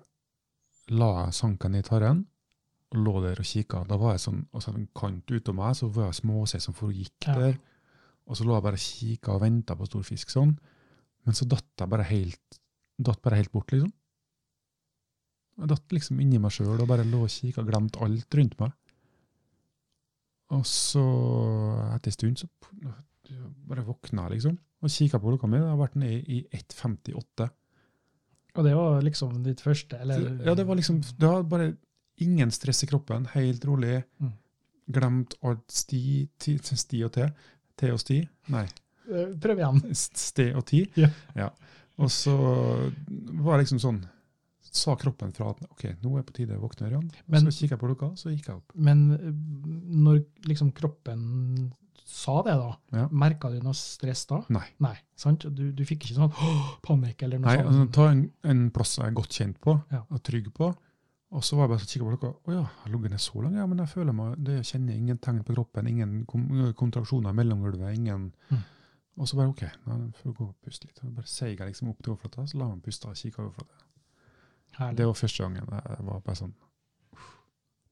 la jeg sanken ned i tarren, og lå der og kikka. Da var jeg sånn, altså en kant utom meg, så var jeg småsei som foregikk
Ja.
der. Og så lå jeg bare og kikka og venta på stor fisk sånn. Men så datt jeg bare helt, datt bare helt bort, liksom. Jeg datt liksom inni meg sjøl og bare lå og kikka, glemte alt rundt meg. Og så, etter en stund, så p- bare våkna jeg, liksom. Og kikka på klokka mi. Jeg har vært nede i 1.58.
Og det var liksom ditt første, eller?
Ja, det var liksom Det var bare ingen stress i kroppen, helt rolig.
Mm.
Glemt alt sti, ti, sti og te. Te og sti. Nei,
Eh, Prøv igjen.
ste og ti.
Ja.
Og så var det liksom sånn Sa kroppen fra at OK, nå er det på tide å våkne, Ørjan. Og
Men-
Så kikka jeg på klokka, så gikk jeg opp.
Men eh, når liksom kroppen sa det, da,
Ja.
merka du noe stress da?
Nei.
Nei, sant? Du, du fikk ikke sånn «Åh, panikk eller noe
Nei,
sånt? liksom.
altså, Ta en, en plass jeg er godt kjent på
Ja.
og trygg på. Og så var jeg bare så kikket på klokka. Å ja, jeg har ligget ned så lenge. Ja, men jeg føler meg, det jeg kjenner ingen tegn på kroppen, ingen kom, kontraksjoner i mellomgulvet. ingen...
Mm.
Og så bare OK, nå får jeg gå og puste litt. Og bare seig jeg liksom opp til overflata, så la meg puste og kikke overflata.
Herlig.
Det var første gangen jeg var bare sånn uff,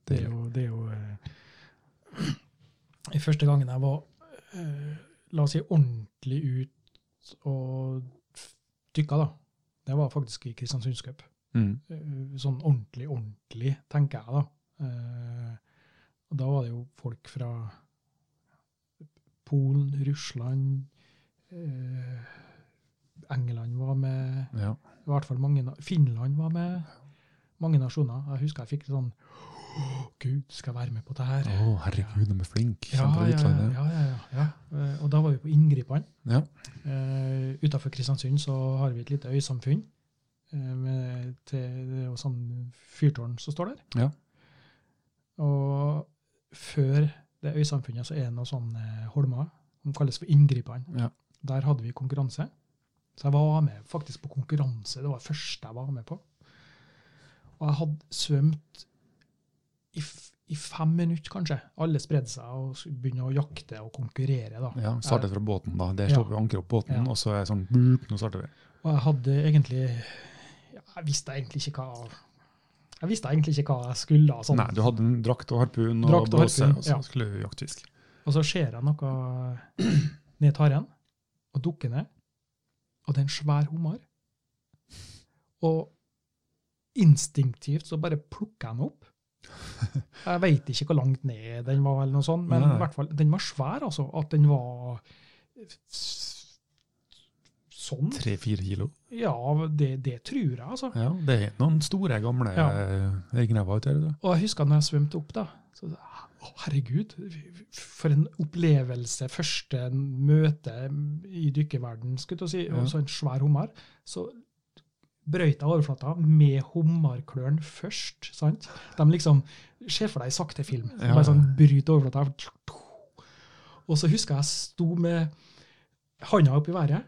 Det er
deilig.
jo, det er jo eh, (clears throat) i Første gangen jeg var eh, la oss si ordentlig ut og dykka, da, det var faktisk i Kristiansunds Cup.
Mm.
Eh, Sånn ordentlig, ordentlig, tenker jeg da. Eh, Og da var det jo folk fra Polen, Russland eh, England var med,
Ja.
i hvert fall mange na- Finland var med. Mange nasjoner. Jeg husker jeg fikk sånn «Åh, Gud, skal jeg være med på det her?
Å, herregud, de er flinke.
Ja, ja, ja,
utlandet.
ja, ja, ja. Eh, Og da var vi på inngripene.
Ja.
Eh, utenfor Kristiansund så har vi et lite øysamfunn. eh, med, til, det er jo sånn fyrtårn som står der.
Ja.
Og før det øysamfunnet så er det noen sånne holmer som kalles for inngripene.
Ja.
Der hadde vi konkurranse. Så jeg var med faktisk på konkurranse. Det var det første jeg var med på. Og jeg hadde svømt i, f i fem minutter, kanskje. Alle spredde seg og s- begynne å jakte og konkurrere. da.
Ja, startet fra båten, da. Der
Ja.
slår vi anker opp båten,
Ja.
og så er det sånn «Bup, Nå starter vi.
Og jeg hadde egentlig ja, Jeg visste egentlig ikke hva jeg visste egentlig ikke hva jeg skulle. Sånn.
Nei, du hadde en drakt og harpun og
Drakt og
blåse,
harpun,
og så
ja.
skulle du jakte fisk.
Og så ser jeg noe ned i taren, og dukker ned. Og det er en svær hummer. Og instinktivt så bare plukker jeg den opp. Jeg veit ikke hvor langt ned den var, eller noe sånt, men
Nei.
i hvert fall, den var svær, altså. At den var s- sånn.
Tre-fire kilo.
Ja, det, det tror jeg, altså.
Ja, det er noen store, gamle
Ja.
eh, ringrever ute her. da.
Og jeg husker når jeg svømte opp, da. Så, å, herregud, for en opplevelse. Første møte i dykkerverden, skulle jeg til å si.
Ja.
Og så en svær hummer. Så brøyt jeg overflata med hummerklørne først. sant? De liksom ser for deg i sakte film.
Ja, ja.
Bare sånn bryter overflata. Og så husker jeg jeg sto med handa opp i været.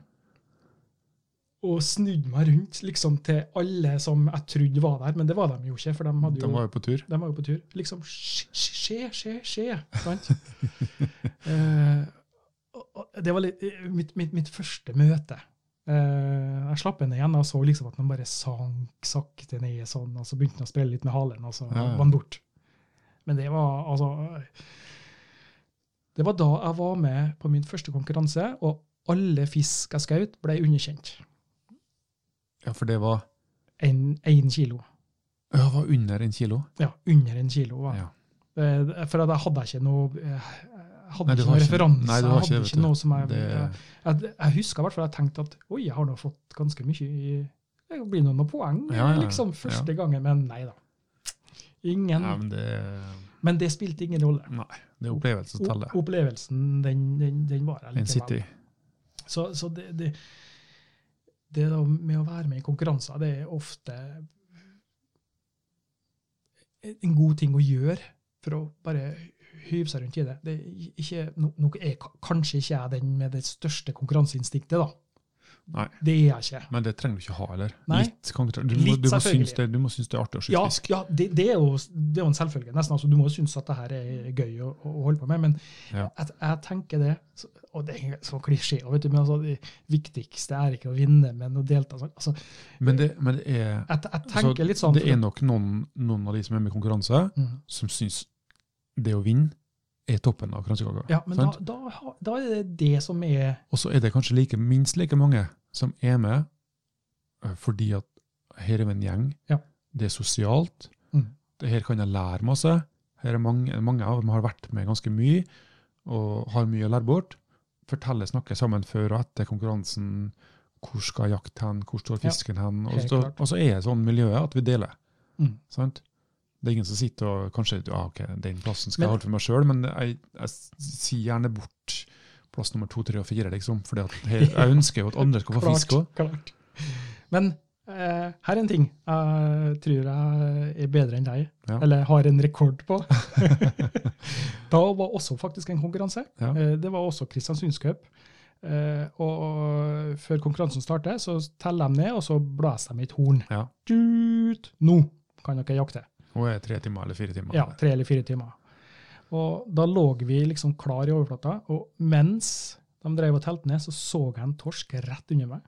Og snudde meg rundt liksom til alle som jeg trodde var der, men det var de jo ikke. for de hadde jo...
De var jo på tur.
De var jo på tur. Liksom skje, skje, skje, skje.
(laughs)
Sant? Eh, og- og det var litt, eh, mitt, mitt, mitt første møte. Eh, jeg slapp henne igjen og så liksom at den bare sank sakte ned sånn, og så begynte den å sprelle litt med halen, og så
Ja, ja.
var den borte. Men det var altså Det var da jeg var med på min første konkurranse, og alle fisk jeg skjøt, ble underkjent.
Ja, for det var,
Én kilo.
ja, var under en kilo.
Ja, under en kilo. Var. det.
Ja.
Eh, For at jeg hadde ikke noe jeg hadde
Nei, du
ikke
har
noen
ikke-
referanse.
nei, du
jeg
har
hadde
ikke, vet
ikke
du.
noe som jeg,
Det-
jeg, jeg, jeg husker i hvert fall jeg tenkte at oi, jeg har nå fått ganske mye i Det blir nå noen poeng
Ja, ja,
liksom første gangen, men nei da. Ingen.
Nei, men det,
Men det spilte ingen rolle.
nei, det er opplevelse som teller.
O- Opplevelsen, den, den, den var jeg
En city.
Så, så det, det, det da med å være med i konkurranser, det er ofte en god ting å gjøre for å bare hyve seg rundt i det. det er ikke, no, noe er, kanskje ikke jeg den med det største konkurranseinstinktet, da.
Nei.
Det er jeg ikke.
Men det trenger du ikke ha heller.
Nei.
Litt, kan ikke tre- du, må,
Litt,
du, må synes
selvfølgelig.
det, du må synes det er artig å skyte
Ja,
fisk.
ja det, det, er jo, det er jo en selvfølge. nesten. Altså, du må jo synes at det her er gøy å, å holde på med, men
Ja.
jeg, jeg tenker det så- Og det er så klisjé, og vet du, men altså, det viktigste er ikke å vinne, men å delta. sånn. Altså,
Men det, men det er
jeg, jeg
altså,
tenker litt sånn
Det er nok noen, noen av de som er med i konkurranse,
Mm.
som syns det å vinne er toppen av kransekaka.
Ja, men da,
sant?
da, ha- da er det det som er
Og så er det kanskje like, minst like mange som er med eh, fordi at her er vi en gjeng,
Ja.
det er sosialt,
Mm.
det her kan jeg lære masse, her er mange, mange av dem har vært med ganske mye, og har mye å lære bort. Fortelle, snakke sammen før og etter konkurransen, hvor skal jakt hen, hvor står
Ja,
fisken hen, og
helt
så,
klart.
og så er det sånn miljøet at vi deler.
Mm.
Sant? Det er ingen som sitter og kanskje ah, ok, den plassen skal
Men-
jeg holde for meg sjøl, men jeg, jeg s- sier gjerne bort plass nummer to, tre og fire, liksom. For
(laughs)
jeg ønsker jo at andre skal få fisk òg.
klart. Men eh, her er en ting jeg tror jeg er bedre enn deg,
Ja.
eller har en rekord
(laughs)
på. da var også faktisk en konkurranse.
Ja.
Eh, det var også Kristiansundscup. Eh, og før konkurransen starter, så teller de ned, og så blåser de i et horn.
Ja.
Tut! Nå kan dere jakte.
Nå er det tre timer eller fire timer.
Ja, tre eller fire timer. Og da lå vi liksom klar i overflata, og mens de drev og telte ned, så så jeg en torsk rett under meg.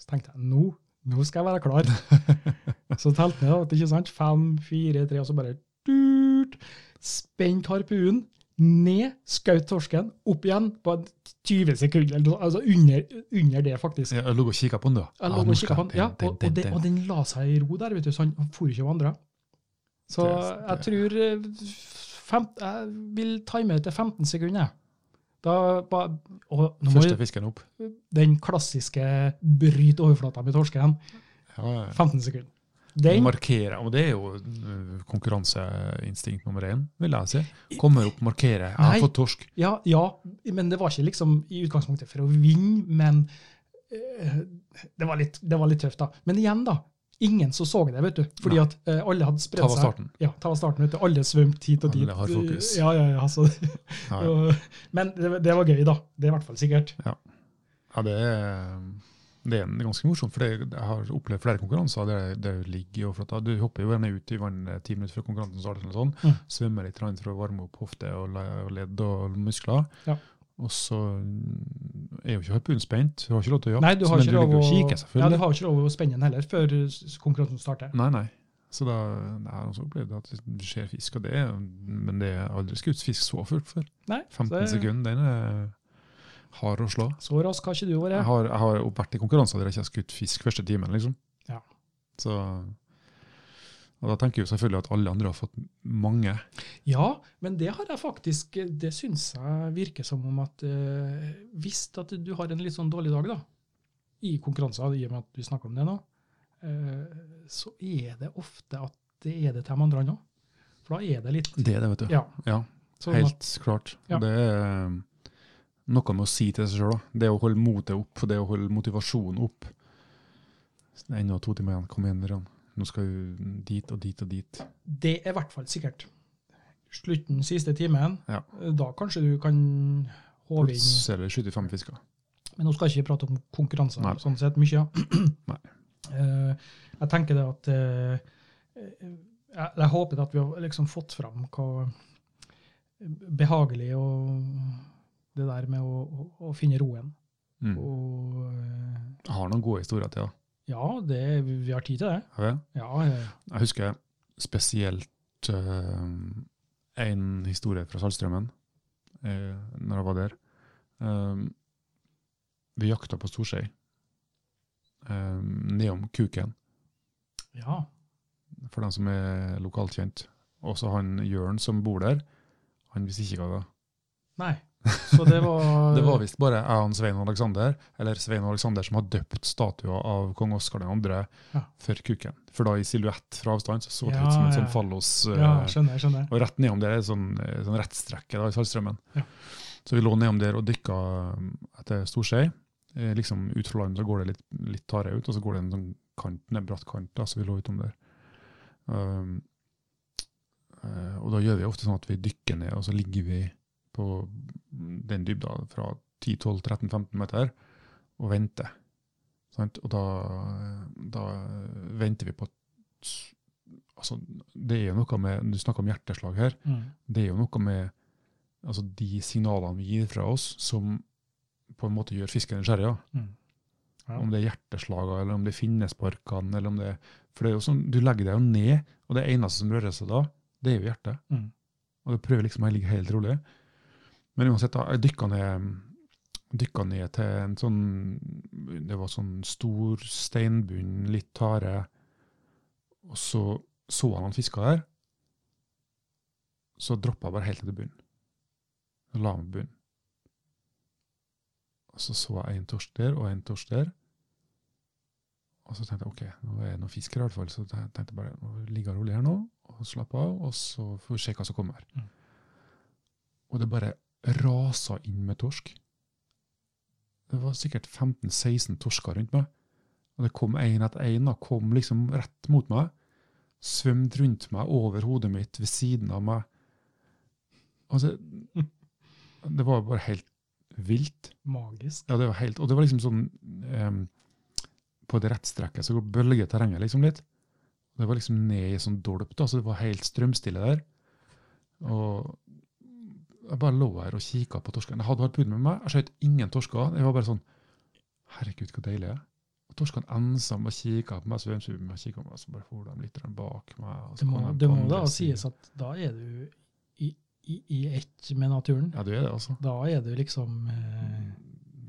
Så tenkte jeg nå, nå skal jeg være klar. så telte jeg ned, da, ikke sant? Fem, fire, tre, og så bare durt, spent harpunen, ned, skaut torsken, opp igjen på 20 sekunder, eller noe, altså under, under det faktisk.
Jeg lå og kikka på den, da.
Jeg
Ah,
lå
nå
og kikket
skal
på den, ja,
den,
og,
den,
og, den,
den.
og den la seg i ro der, vet du, så han han for ikke å vandre. Så
Det-
jeg tror eh, fem, Jeg vil time det til 15 sekunder. jeg. Da ba, og nå må
Første
jeg,
fisken opp.
den klassiske bryt overflata med torsken.
Ja, ja, ja.
15 sekunder. Den,
Markere, og det er jo øh, konkurranseinstinkt nummer én, vil jeg si. Kommer opp, markerer. Jeg
Nei.
har fått torsk.
ja, ja, men det var ikke liksom i utgangspunktet for å vinne, men eh, det, var litt, det var litt tøft, da. Men igjen, da. Ingen som så det, vet du. Fordi
Nei.
at eh, alle hadde
Ta
spredt
var
seg.
starten.
Ja, ta av starten, vet du. Alle svømte hit og dit.
Alle har fokus.
Ja, ja, ja. Altså,
Ja,
(laughs)
ja.
og- Men det, det var gøy, da. Det er i hvert fall sikkert.
Ja, det er, det er en ganske morsomt, for det, jeg har opplevd flere konkurranser der det ligger i overflata. Du hopper jo gjerne ut i vannet ti minutter før konkurransen starter, eller sånn,
Mm.
svømmer litt grann for å varme opp hofte og le- og ledd og muskler.
Ja.
Og så mm, er jo ikke harpunen spent, du har ikke lov til å jakte,
Nei, du har
men
ikke
du
lov
ligger
å,
og kikker
ja, du
selvfølgelig.
har ikke lov å spenne den heller før s- konkurransen starter.
Nei, nei. Så da jeg har også opplevd at det skjer fisk, og det, er- men det er aldri skutt fisk så fullt før.
Nei,
15
så,
sekunder, den er hard å slå.
så rask har ikke du
Jeg
vært.
har, jeg har jo vært i konkurranser der jeg ikke har skutt fisk første timen, liksom.
Ja.
Så, og da tenker jeg jo selvfølgelig at alle andre har fått mange.
Ja, men det har jeg faktisk Det syns jeg virker som om at eh, Hvis at du har en litt sånn dårlig dag, da, i konkurranser, i og med at vi snakker om det nå, eh, så er det ofte at det er det til de andre òg. For da er det litt
Det er det, vet du.
Ja.
Ja,
sånn at-
Helt klart.
Ja.
Og det er eh, noe med å si til seg sjøl, da. Det å holde motet opp, det å holde motivasjonen opp. Så det er Ennå to timer igjen, kom igjen, Ørjan. Nå skal du dit og dit og dit.
Det er i hvert fall sikkert. Slutten siste timen,
Ja.
da kanskje du kan håve inn
Så er det 75 fisker.
Men nå skal jeg ikke prate om konkurranser
Nei.
sånn sett (clears throat) mye.
Nei.
Eh, jeg tenker det at eh, eh, jeg, jeg håper at vi har liksom fått fram hva behagelig og det der med å, å, å finne roen.
Mm.
Og eh,
Jeg har noen gode historier til, da.
ja, det, vi har tid til det.
Har jeg?
Ja, eh,
Jeg husker spesielt eh, en historie fra Saltstraumen, eh, når jeg var der. Um, vi jakta på storskei um, nedom Kuken,
ja.
for dem som er lokalt kjent. Også han Jørn som bor der, han visste ikke hva det var.
Nei. Så det var
(laughs) Det var visst bare jeg og Svein og Alexander, eller Svein og Alexander som har døpt statuer av kong Oskar 2.
Ja.
for Kuken. For da i silhuett fra avstand så, så det
Ja,
ut som en
ja.
sånn fallos eh,
Ja, skjønner, skjønner.
Og rett nedom der er sånn, eh, sånn rettstrekke da, i Saltstraumen.
Ja.
Så vi lå nedom der og dykka um, etter storskei. Eh, Liksom ut fra land så går det litt, litt tare ut, og så går det en sånn kant, en bratt kant, da, så vi lå utom der. Um, eh, og da gjør vi ofte sånn at vi dykker ned, og så ligger vi på den dybda fra 10-12-13-15 meter, og venter. Sant? Og da, da venter vi på at altså, Det er jo noe med Du snakker om hjerteslag her.
Mm.
Det er jo noe med altså, de signalene vi gir fra oss, som på en måte gjør fisken nysgjerrig. Ja.
Mm. Ja.
Om det er hjerteslagene, eller om det er finnesparkene, eller om det For det er jo sånn, du legger deg jo ned, og det eneste som rører seg da, det er jo hjertet.
Mm.
Og du prøver liksom å ligge helt rolig. Men uansett, da, jeg dykka ned, dykka ned til en sånn Det var sånn stor steinbunn, litt tare. Og så så han han fiska der. Så droppa jeg bare helt til bunnen. Jeg La meg på bunnen. Og så så jeg en torsk der og en torsk der. Og så tenkte jeg ok, nå er det noen fisk her i hvert fall. Så jeg tenkte bare nå ligger jeg rolig her nå og slapp av, og så får vi se hva som kommer.
Mm.
Og det bare rasa inn med torsk. Det var sikkert 15-16 torsker rundt meg. Og det kom én etter én, da, kom liksom rett mot meg. Svømte rundt meg, over hodet mitt, ved siden av meg. Altså, det var bare helt vilt.
Magisk.
Ja, det var helt, og det var liksom sånn em, På det rettstrekket så bølger terrenget liksom litt. Det var liksom ned i sånn dolp, da, så det var helt strømstille der. Og jeg bare lå her og kikka på torsken. Jeg hadde hatt pund med meg, jeg skjøt ingen torsker. Jeg var bare sånn Herregud, så deilig det er. Og torskene ensa og kikka på meg, så ønsket meg kikka på meg, så bare for de litt bak meg. og så
Det må,
kom de på
det må
andre
da
siden.
sies at da er du i, i, i ett med naturen.
Ja, du er det, altså.
Da er du liksom eh,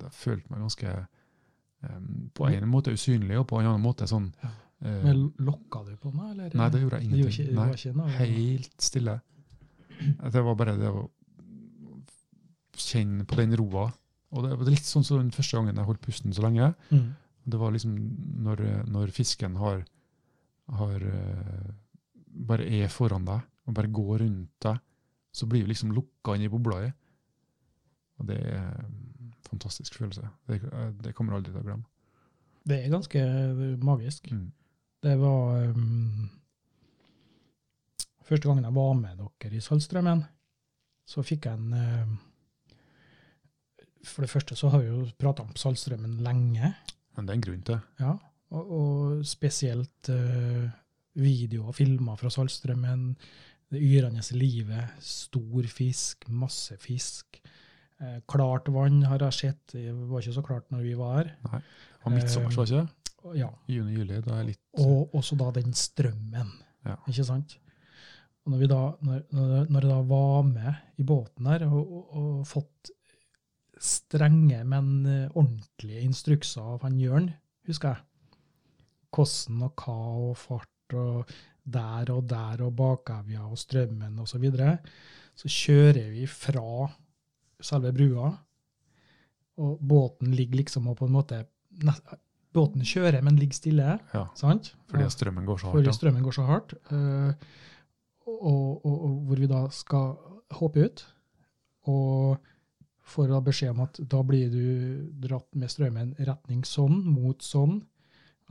Jeg følte meg ganske em, På en måte usynlig, og på en annen måte sånn
Ja.
eh,
Men lokka du på den, eller?
Nei, det gjorde jeg
Det gjorde
ingenting.
ikke, det var ikke noe.
Nei, helt stille. Det var bare det å kjenne på den roa. Og det var litt sånn som den første gangen jeg holdt pusten så lenge.
Mm.
Det var liksom når, når fisken har, har eh, bare er foran deg, og bare går rundt deg, så blir du liksom lukka inn i bobla di. Og det er en fantastisk følelse. Det, det kommer jeg aldri til å glemme.
Det er ganske magisk.
Mm.
Det var um, Første gangen jeg var med dere i Saltstraumen, så fikk jeg en um, For det første så har vi jo prata om Saltstraumen lenge,
Men det er en grunn til det.
ja, og, og spesielt uh, videoer og filmer fra Saltstraumen. Det yrende livet, stor fisk, masse fisk. Eh, klart vann har jeg sett, det var ikke så klart når vi var her.
Det var midtsommers, var det ikke? det?
Og Ja,
Juni-juli, da er jeg litt
Og også da den strømmen.
Ja.
Ikke sant? Og når, vi da, når, når- når jeg da var med i båten her og, og, og fått strenge, men eh, ordentlige instrukser av han Jørn, husker jeg. Hvordan og hva og fart og der og der og bakevja og strømmen osv. Så, videre, så kjører vi fra selve brua, og båten ligger liksom og på en måte nes- Båten kjører, men ligger stille.
Ja.
Sant?
Fordi
Ja,
at strømmen går så hardt.
fordi
ja.
strømmen går så hardt. eh, og, og, og hvor vi da skal hoppe ut. Og får da beskjed om at da blir du dratt med strømmen retning sånn, mot sånn.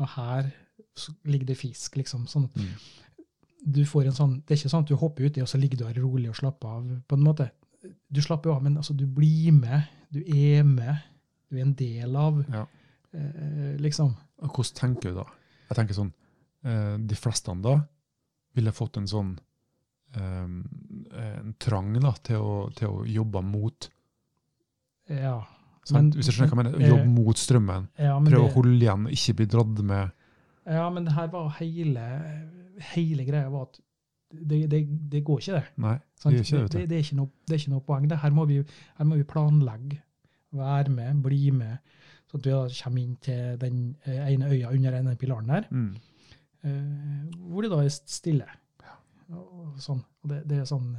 Og her så ligger det fisk, liksom. Sånn.
Mm.
Du får en sånn, det er ikke sånn at du hopper uti, og så ligger du her rolig og slapper av. på en måte. Du slapper jo av, men altså, du blir med. Du er med. Du er en del av.
Ja.
eh, liksom.
Og Hvordan tenker du da? Jeg tenker sånn, eh, De fleste da ville fått en sånn eh, en trang da, til, å, til å jobbe mot
Ja. Men-
sant? Hvis jeg skjønner hva jeg mener,
eh,
jobbe mot strømmen.
ja men
Prøve
det-
å holde igjen, ikke bli dratt med.
Ja, men det her var hele, hele greia var at det, det, det går ikke, det.
Nei,
sant?
det gjør ikke det.
det,
vet du.
det, er ikke noe, det er ikke noe poeng. Det her, må vi, her må vi planlegge, være med, bli med. Så at vi da kommer inn til den eh, ene øya under den ene pilaren der,
Mm.
eh, hvor det da er stille. Og, og sånn. Og det, det er sånn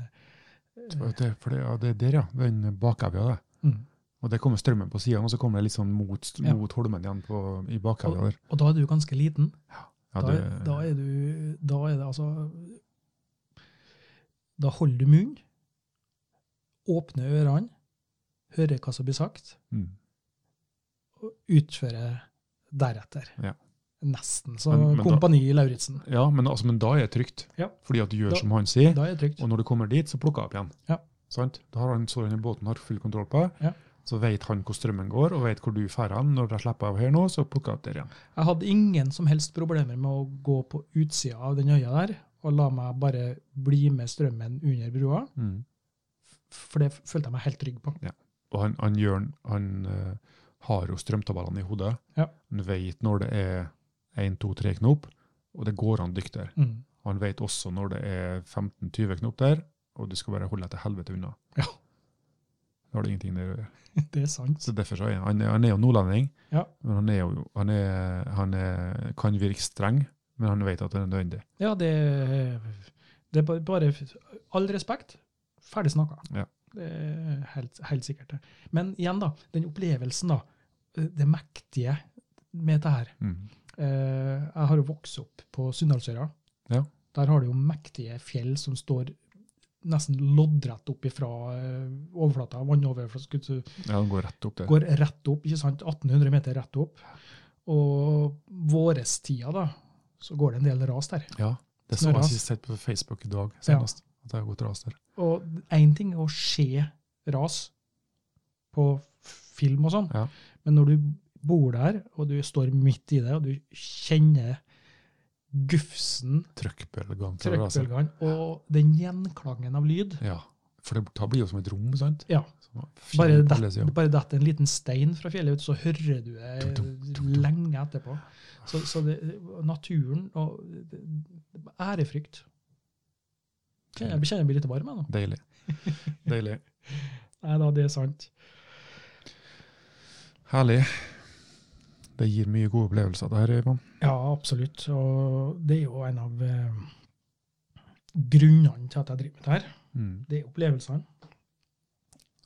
Så vet du, For det, ja, det er der, ja. Den bakevja, det.
mm.
Og det kommer strømmen på siden, og så kommer det litt sånn mot,
Ja.
mot holmen igjen på, i bakevja der.
Og da er du ganske liten.
Ja,
da, er,
det-
da er du Da er det altså Da holder du munn, åpner ørene, hører hva som blir sagt,
mm.
og utfører deretter.
Ja.
Nesten så
Men- men da-
Kompani Lauritzen.
ja men, altså, men da er det trygt.
Ja.
Fordi at du gjør
Da-
som han sier.
Da er det trygt.
Og når du kommer dit, så plukker jeg opp igjen.
Ja.
Sant? Da har han såren i båten har full kontroll på deg.
Ja.
Så vet han hvor strømmen går, og vet hvor du drar han. Når de slipper av her nå, så plukker jeg opp der igjen.
Jeg hadde ingen som helst problemer med å gå på utsida av den øya der og la meg bare bli med strømmen under brua,
Mm.
f- for det f- følte jeg meg helt trygg på.
Og han, han, gjør, han eh, har jo strømtabellene i hodet.
Ja.
Han vet når det er 1, 2, 3 knop, og det går an dykt der.
Mm. (laughs)
Han vet også når det er 15-20 knop der, og du skal bare holde deg til helvete unna.
Ja.
Da har du ingenting der å gjøre.
Det er sant.
Så derfor så er han, han er jo nordlending,
Ja.
men han, er jo, han, er, han er, kan virke streng, men han vet at det er nødvendig.
Ja, det, det er ba- bare All respekt, ferdig snakka.
Ja.
Det er helt, helt sikkert. det. Men igjen, da. Den opplevelsen, da. Det mektige med dette her.
Mm.
Eh, Jeg har jo vokst opp på Sunndalsøra.
Ja.
Der har du jo mektige fjell som står nesten loddrett opp ifra eh, overflata. Vannoverflata så
Ja, han går rett opp der.
går rett opp, ikke sant? 1800 meter rett opp. Og vårestida, da, så går det en del ras der.
Ja, det så jeg
Snøras.
sist sett på Facebook i dag senest, at det har gått ras der.
Og én ting er å se ras på film og sånn,
Ja.
men når du bor der, og du står midt i det, og du kjenner gufsen,
Trøkkbølgene. fra raset.
trøkkbølgene, og den gjenklangen av lyd
Ja, for det da blir jo som et rom, sant?
Ja.
Som
Bare
fint på alle
det-
sider.
bare detter en liten stein fra fjellet ut, så hører du det lenge etterpå. Så, så det, naturen og ærefrykt Jeg kjenner jeg blir litt varm, jeg nå.
Deilig. Deilig.
Nei da, det er sant.
Herlig. Det gir mye gode opplevelser, det her, Øyvind.
Ja, absolutt. Og det er jo en av eh, grunnene til at jeg driver med det her.
Mm.
Det er opplevelsene.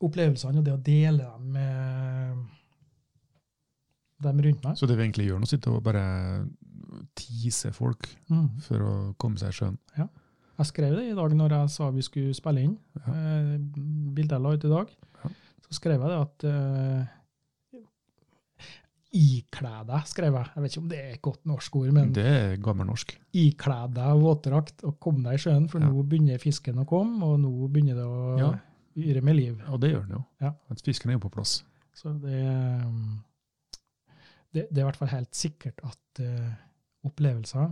Opplevelsene og det å dele dem med dem rundt meg.
Så det vi egentlig gjør nå, sitter og bare teaser folk
Mm.
for å komme seg i sjøen.
Jeg skrev det i dag når jeg sa vi skulle spille inn.
Ja.
Eh, bildet jeg la ut i dag.
Ja.
Så skrev jeg det at eh, Ikle deg, skrev jeg. Jeg vet ikke om det er et godt norsk ord, men
Det er gammelnorsk.
ikle deg våtdrakt og kom deg i sjøen, for
Ja.
nå begynner fisken å komme, og nå begynner det å
Ja.
yre med liv.
Og det gjør den jo.
Ja.
At fisken er jo på plass.
Så det, um, det, det er i hvert fall helt sikkert at eh, opplevelser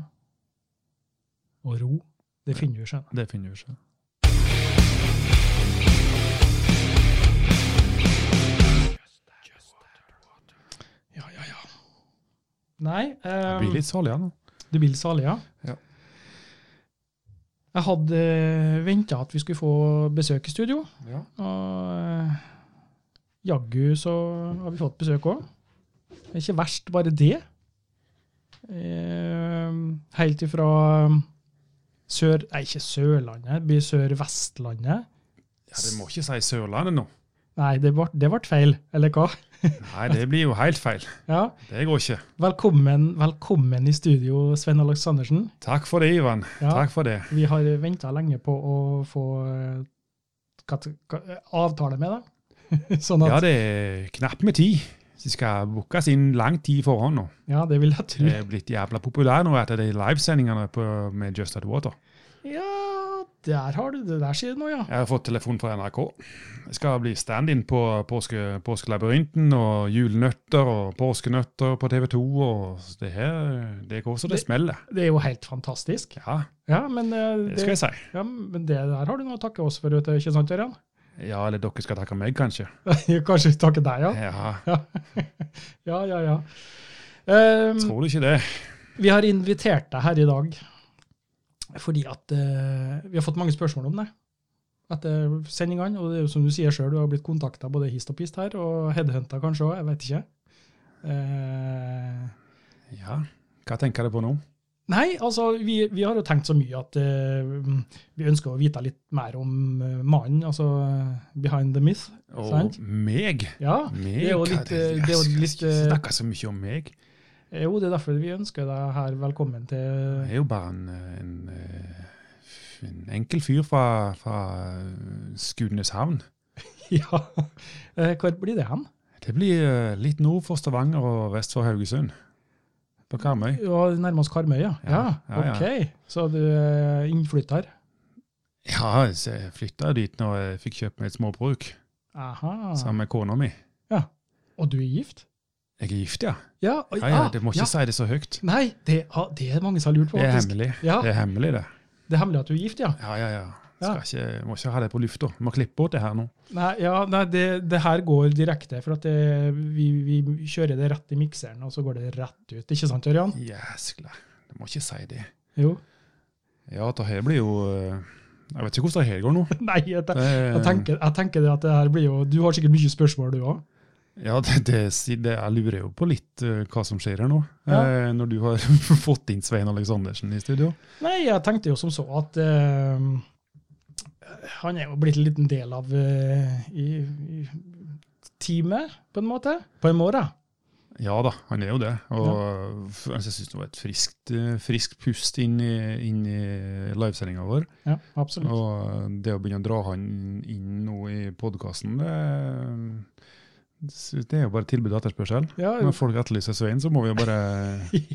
og ro, det finner du i sjøen.
Det finner vi ikke.
Ja, ja, ja. Nei,
Jeg
um,
blir litt salig igjen nå.
du blir litt salig, ja.
Ja.
Jeg hadde venta at vi skulle få besøk i studio,
Ja.
og eh, jaggu så har vi fått besøk òg. Det er ikke verst, bare det. Eh, helt ifra um, sør... Nei, ikke Sørlandet, det blir Sør-Vestlandet.
det må ikke si Sørlandet nå.
Nei, det ble, det ble feil, eller hva?
Nei, det blir jo helt feil.
Ja,
Det går ikke.
Velkommen, velkommen i studio, Svein Aleksandersen.
Takk for det, Ivan.
Ja.
for det.
Vi har venta lenge på å få eh, kat- ka- eh, avtale med deg. (laughs) sånn at
Ja,
ja det,
det er knapt med tid. Så det skal bookes inn lang tid forhånd nå.
vil jeg tro.
Det er blitt jævla populær nå etter de livesendingene på- med Just At Water.
Ja, der har du det. Der sier du noe, ja.
Jeg har fått telefon fra NRK. Jeg skal bli stand-in på påske, Påskelabyrinten og julenøtter og påskenøtter på TV 2. og Det her, det går så det,
Det-
smeller.
Det er jo helt fantastisk.
Ja,
Ja, men, eh,
det skal
det,
jeg si.
ja, men det der har du noe å takke oss for, vet du, ikke sant, Ørjan? (laughs)
Ja, eller dere skal takke meg, kanskje.
Kanskje takke deg, ja.
Ja,
Ja, ja, ja. Ehm,
Tror du ikke det?
vi har invitert deg her i dag fordi at eh, vi har fått mange spørsmål om det etter sendingene. Og det er jo som du sier sjøl, du har blitt kontakta både hist og pist her, og headhunta kanskje òg, jeg vet ikke. Eh,
Ja, Hva tenker du på nå?
Nei, altså, vi, vi har jo tenkt så mye at eh, vi ønsker å vite litt mer om eh, mannen, altså eh, behind the myth.
Og
Sant.
meg?
Ja,
meg?
Det er jo
Hva-
litt, eh, det er jo
Jeg
litt,
skal
eh,
ikke snakke så mye om meg.
eh, jo, det er derfor vi ønsker deg her velkommen til (laughs)
Jeg er jo bare en, en, eh, en enkel fyr fra, eh, fra Skudeneshavn.
Ja, Eh, hvor blir det hen?
Det blir eh, litt nord for Stavanger og vest for Haugesund. På Karmøy.
Ja, nærmest Karmøy, ja. Ja,
Ja, ja, ja.
ok. Så du er innflytter.
Ja, så jeg flytta dit når jeg fikk kjøpt meg et småbruk
Aha.
sammen med kona mi.
Og du er gift?
Jeg er gift, ja.
Ja, og-
ja, ja
ja,
det må
Ah, ja.
ikke si det så høyt.
Nei, det, ah, det er mange som har lurt på,
Det er
faktisk.
hemmelig,
Ja.
det. er hemmelig det.
Det er hemmelig at du er gift, ja.
Ja, ja, ja. Skal ikke, må ikke ha det på lufta. Må klippe bort det her nå.
Nei, ja, nei det, det her går direkte, for at det, vi, vi kjører det rett i mikseren, og så går det rett ut. Ikke sant, Ørjan?
Jæskla. Du må ikke si det.
Jo. (laughs)
Ja, det her blir jo eh, Jeg vet ikke hvordan det her
(laughs)
går nå.
Nei, jeg, te-
Det,
jeg, tenker, jeg tenker det at det her blir jo Du har sikkert mye spørsmål, du òg.
Ja, det, det, si- det, jeg lurer jo på litt eh, hva som skjer her nå.
Ja.
Eh, når du har (laughs) fått inn Svein Aleksandersen i studio.
Nei, jeg tenkte jo som så at eh, han er jo blitt en liten del av eh, i, i teamet, på en måte. På en måte.
Ja da, han er jo det. Og f- altså, jeg syns det var et friskt, eh, friskt pust inn i, inn i livesendinga vår.
Ja, absolutt.
Og det å begynne å dra han inn nå i podkasten, det, det er jo bare tilbud og etterspørsel.
Ja, jo. (laughs)
Når folk etterlyser Svein, så må vi jo bare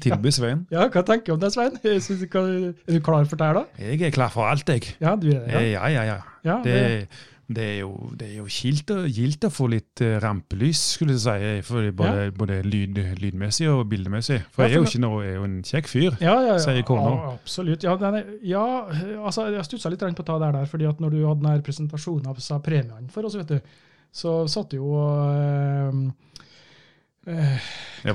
tilby Svein.
ja, hva tenker du om det, Svein? Jeg synes, hva, er du klar for det her, da?
Jeg er klar for alt, jeg.
Ja, du er det?
Eh, Ja, ja, ja.
Ja, ja
Det, det er jo, det er jo kilt, å- gildt å få litt eh, rampelys, skulle jeg si, eh, for både, både lyd, lydmessig og bildemessig. For
Ja,
jeg er
for
jo ikke noe, jeg er jo en kjekk fyr.
Ja, ja, ja.
Sier kona.
Ja, Absolutt. Ja, den er, ja, altså, jeg stussa litt grann på å ta det der, fordi at når du hadde den her presentasjonen av sa premiene for oss, vet du, så satt jo eh, eh,
Jeg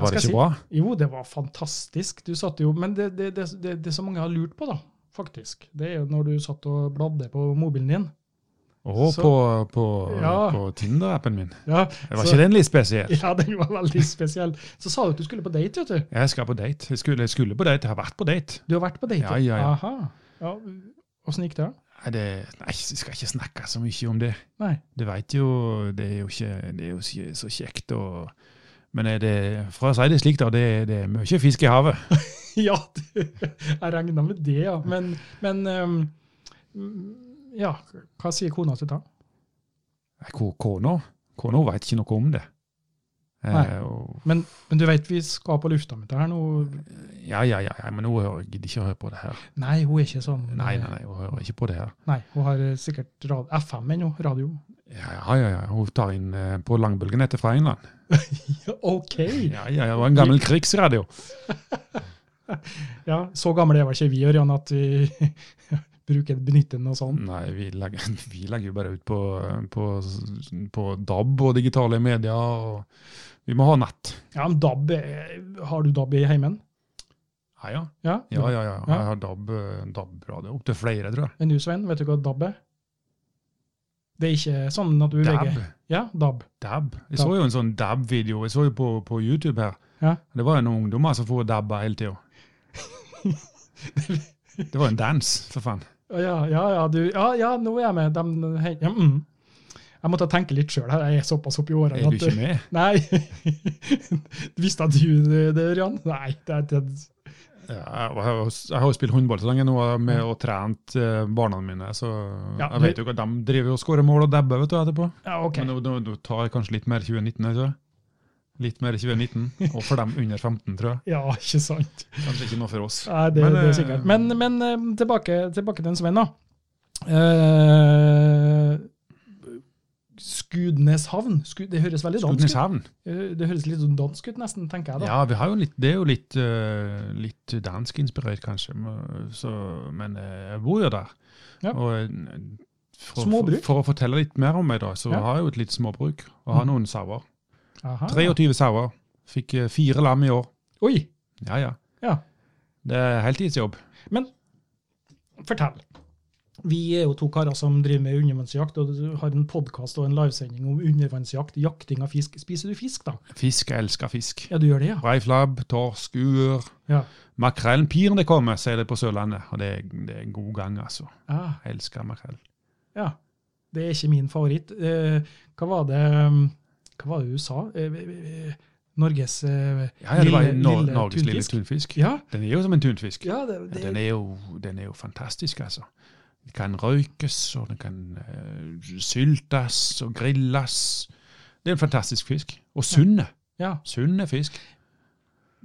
Hva
var
skal jeg
ikke
si?
bra.
Jo, det var fantastisk. Du satt jo, Men det, det, det, det, det som mange har lurt på, da, faktisk, det er jo når du satt og bladde på mobilen din.
Og
Så-
på, på,
Ja.
på Tinder-appen min.
Ja,
Jeg var
så-
ikke den litt spesiell.
ja, den var veldig spesiell. Så sa du at du skulle på date, vet du.
Jeg skal på date. Jeg skulle, jeg skulle på date. Jeg har vært på date.
Du har vært på date?
Ja, ja, ja.
Aha. Ja, Åssen gikk det? da?
Nei, det, nei, jeg skal ikke snakke så mye om det.
Nei.
Du veit jo, det er jo ikke, det er jo ikke så kjekt å Men er det, for å si det slik, da, det, det er mye fisk i havet.
(laughs) Ja, det, jeg regna med det, ja. Men, men ehm, ja, hva sier kona til da?
Nei, ko- Kona Kona veit ikke noe om det.
Nei.
Eh, og,
Men, men du vet vi skal på lufta med det her nå.
ja, ja, ja, ja, men hun hører- gidder ikke å høre på det her.
Nei, hun er ikke sånn.
Nei, nei, nei, hun hører ikke på det her.
Nei, hun har eh, sikkert rad FM ennå, radio.
Ja, ja, ja, ja. hun tar inn eh, på langbølgen etter fra England.
OK!
Ja, ja, ja, det var en gammel krigsradio.
Ja, Så gamle er vel ikke vi, Ørjan, at vi (laughs) bruker benytter den og sånn.
Nei, vi legger, (laughs) vi legger jo bare ut på, eh, på, på DAB og digitale medier. Og vi må ha nett.
Ja, men DAB, eh, har du DAB i heimen?
Ja, ja.
Ja?
Ja, ja, ja.
Ja.
Jeg har DAB, eh, DAB-radio. Opptil flere, tror jeg.
Men du, Svein, vet du hva DAB er? Det er ikke sånn at du beveger
DAB.
Ja, DAB.
DAB. Jeg
DAB.
så jo en sånn DAB-video jeg så jo på, på YouTube her.
Ja.
Det var jo noen ungdommer som får DAB-a
(laughs)
hele tida. Det var en dans, for faen.
Ja, ja, ja, du, ja, ja, nå er jeg med. Dem, hei, ja, mm. Jeg måtte tenke litt sjøl her, jeg er såpass oppi årene.
Er du ikke
at- eh,
med?
Nei. (laughs) Visste du det, det, Ørjan? Nei. Det, er- det,
Ja, jeg har jo- jeg har jo spilt håndball så lenge nå og med og trent eh, barna mine, så
Ja,
jeg
du-
vet jo at de driver og skårer mål og dabber vet du, etterpå.
ja, ok.
Men nå, nå, nå tar jeg kanskje litt mer 2019, jeg tror jeg. Litt mer 2019, og for dem under 15, tror jeg.
Ja, ikke sant.
Kanskje ikke noe for oss.
Nei, det,
Men,
det er
eh,
sikkert. Men, men eh, tilbake, tilbake til en Sven, da. Eh, Skudneshavn. Sku, det høres veldig dansk ut.
Skudeneshavn.
Eh, Det høres litt sånn dansk ut, nesten, tenker jeg da.
Ja, vi har jo litt, det er jo litt, eh, litt dansk-inspirert, kanskje. men- Så, men eh, jeg bor jo der.
Ja.
Og, eh, for,
Småbruk.
For, for å fortelle litt mer om meg, da, så
Ja.
har jeg jo et litt småbruk. Og har
Mm. Ah,
noen sauer.
Aha.
23 sauer. Fikk eh, fire lam i år.
Oi,
Ja, ja.
Ja.
Det er heltidsjobb.
Fortell. Vi er jo to karer som driver med undervannsjakt, og du har en podkast og en livesending om undervannsjakt, jakting av fisk. Spiser du fisk, da?
Fisk, jeg elsker fisk.
Ja, du gjør det, ja?
Reiflabb, torsk, uer.
Ja.
Makrellen pir det kommer, sier det på Sørlandet. Og det er, det er en god gang, altså.
Ah,
Jeg elsker makrell.
ja. Det er ikke min favoritt. Eh, hva var det um, Hva var det du sa? Eh, eh, eh, Norges eh,
Ja, ja, det var
Lille-
Nor
lille
Norges lille
tunfisk.
tunfisk.
Ja,
Den er jo som en tunfisk.
ja det,
Ja,
det,
den, er jo, den er jo fantastisk, altså. Den kan røykes, og den kan eh, syltes og grilles. Det er en fantastisk fisk. Og sunne.
ja.
Sunne fisk.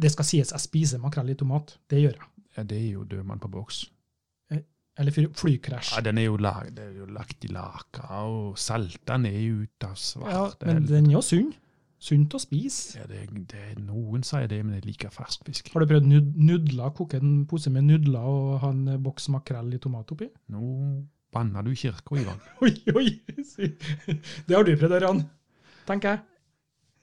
det skal sies, jeg spiser makrell i tomat. Det gjør jeg.
Ja, det er jo dødmann på boks.
Eller fly- flykrasj.
Ja, den er jo, lag, det er jo lagt i laka og salta ned ut av
Ja,
svart.
men den er jo sunn. Sunt å spise.
Ja, det, det, noen sier det, men jeg liker fersk fisk.
Har du prøvd nud- nudler? Koke en pose med nudler og ha en eh, boks makrell i tomat oppi?
Nå banner du i kirka,
(laughs)
Ivan.
Oi, oi! si- Det har du prøvd, Ørjan. Tenker jeg.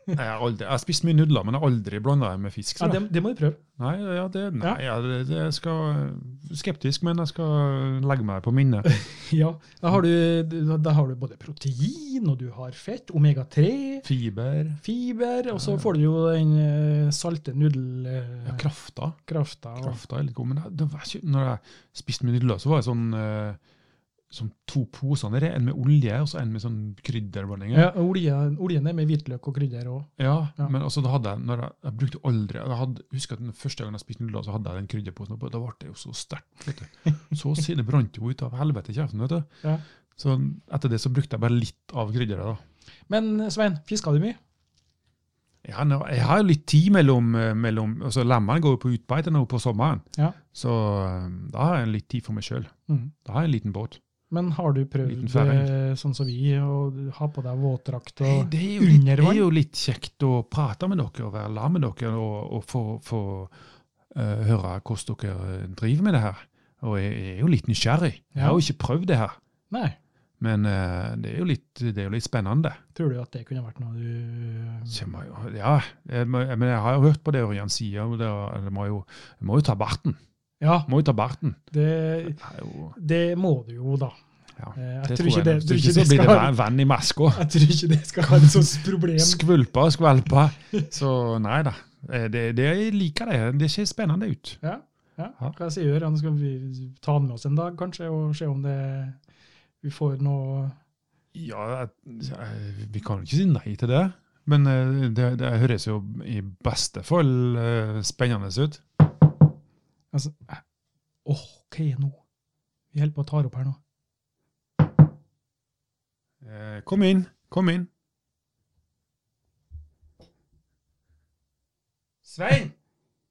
Jeg har, aldri, jeg har spist mye nudler, men jeg har aldri blanda dem med fisk.
Ja,
tror jeg.
det, det må du prøve.
Nei, ja, det, nei ja, det, det jeg skal Skeptisk, men jeg skal legge meg på minnet.
Ja, da har, du, da har du både protein, og du har fett, omega-3,
Fiber.
fiber, og
Ja,
så
ja.
får du jo den eh, salte nudelkrafta.
Ja, krafta.
krafta og-
Krafta er litt god, men det, det var ikke, når jeg spiste med nudler, så var det sånn, eh, sånn to poser nedi. En med olje og så en med sånn krydderblandinger.
Ja, oljen, oljen er med hvitløk og krydder òg.
Ja,
Ja.
men også da hadde jeg, når jeg, jeg brukte aldri jeg hadde, husker at den første gangen jeg spiste nudler, så hadde jeg den krydderposen oppå. Da ble det jo så sterkt. vet du. Så å si det brant jo ut av helvete i kjeften. vet du.
Ja.
Så etter det så brukte jeg bare litt av krydderet. da.
Men Svein, fiska du mye?
Jeg har, nå- jeg har jo litt tid mellom, eh, mellom altså Lemmene går jo på utbeite nå på sommeren,
Ja.
så eh, da har jeg litt tid for meg sjøl.
Mhm.
Da har jeg en liten båt.
Men har du
Liten
prøvd
færing.
eh, sånn som vi, å ha på deg våtdrakt
Nei,
og
det, er jo litt, det
under
er
vann?
jo litt kjekt å prate med dere og være sammen med dere og, og få, få eh, høre hvordan dere eh, driver med det her. Og jeg, jeg er jo litt nysgjerrig. Jeg har jo ikke prøvd det her.
Nei.
Men eh, det, er jo litt, det er jo litt spennende.
Tror du at det kunne vært noe du
Så jeg må jo, ja, jeg, må- men jeg har jo hørt på det Ørjan sier, og det, jeg, må jo, jeg må jo ta barten.
Ja,
Jeg må jo ta barten.
det,
Det er jo,
det må du jo, da.
ja.
Eh, Jeg
Det
tror ikke det,
Hvis
tror
ikke
ikke
så
det
blir
skal
det
være
vann, vann i maska.
(laughs) Jeg tror ikke det skal være et sånt problem.
Skvulpa og
(laughs)
skvalpa. Så nei da. Eh, Det, det, jeg liker det. Det ser spennende ut.
Ja,
Ja.
hva sier Ørjan? Skal vi ta han med oss en dag, kanskje, og se om det, vi får noe
Ja, jeg- jeg- Eh, vi kan jo ikke si nei til det. Men eh, det, det høres jo i beste fall eh, spennende ut.
altså, eh, Åh, hva er det nå? Vi holder på å ta opp her nå.
Eh, Kom inn, kom inn. Svein!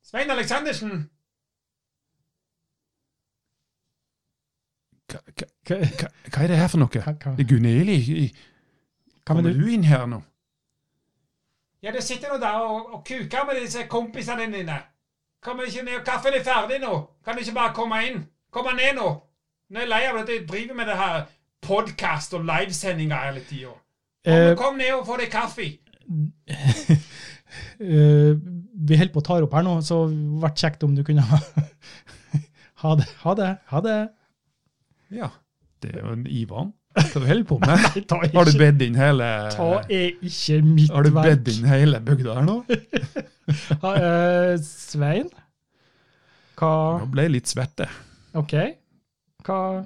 Svein Aleksandersen! Hva, hva,
Hva,
hva, hva er det her for noe?
hva, hva,
Det er Gunhild i- i
hva
Kommer
mener du?
du inn her nå?
Ja, du sitter nå der og, og kuker med disse kompisene dine. Kommer ikke ned, Kaffen er ferdig nå. Kan du ikke bare komme inn? Komme ned nå. Nå er jeg lei av at du driver med det her podkast og livesendinger hele tida.
Eh,
Kom ned og få deg kaffe.
eh, vi holder på å ta opp her nå, så det hadde vært kjekt om du kunne (laughs) ha Ha det, ha det, ha det.
Ja. Det er jo en Ivan. Hva du holder
(laughs)
på med?
Ta
Har du
ikke,
bedt inn hele
ta er ikke mitt
Har du bedt
verk.
inn hele bygda her nå?
Ha, eh, Svein? Hva
Nå ble jeg litt svett, jeg.
OK. Hva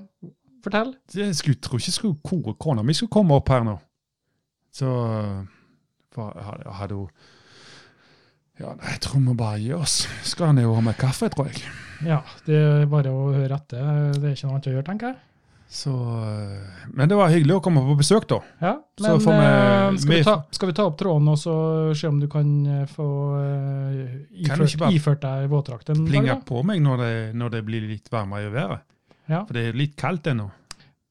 Fortell.
Jeg skulle, tror ikke jeg skulle, kor- kona mi skulle komme opp her nå. Så hva- hadde hadde hun Ja, nei, jeg tror vi bare gir oss. Skal ned og ha meg kaffe, tror jeg.
Ja, det er bare å høre etter. Det er ikke noe annet å gjøre, tenker jeg.
Så eh, Men det var hyggelig å komme på besøk, da.
Ja,
Så
men
får vi-
eh, skal, vi
vi-
ta, skal vi ta opp tråden og så se om du kan eh, få eh,
Kan du
iført,
ikke bare
iført deg våtdrakten?
Plinga
Dag, da?
på meg når det, når det blir litt varmere i været.
Ja.
For det er litt kaldt ennå.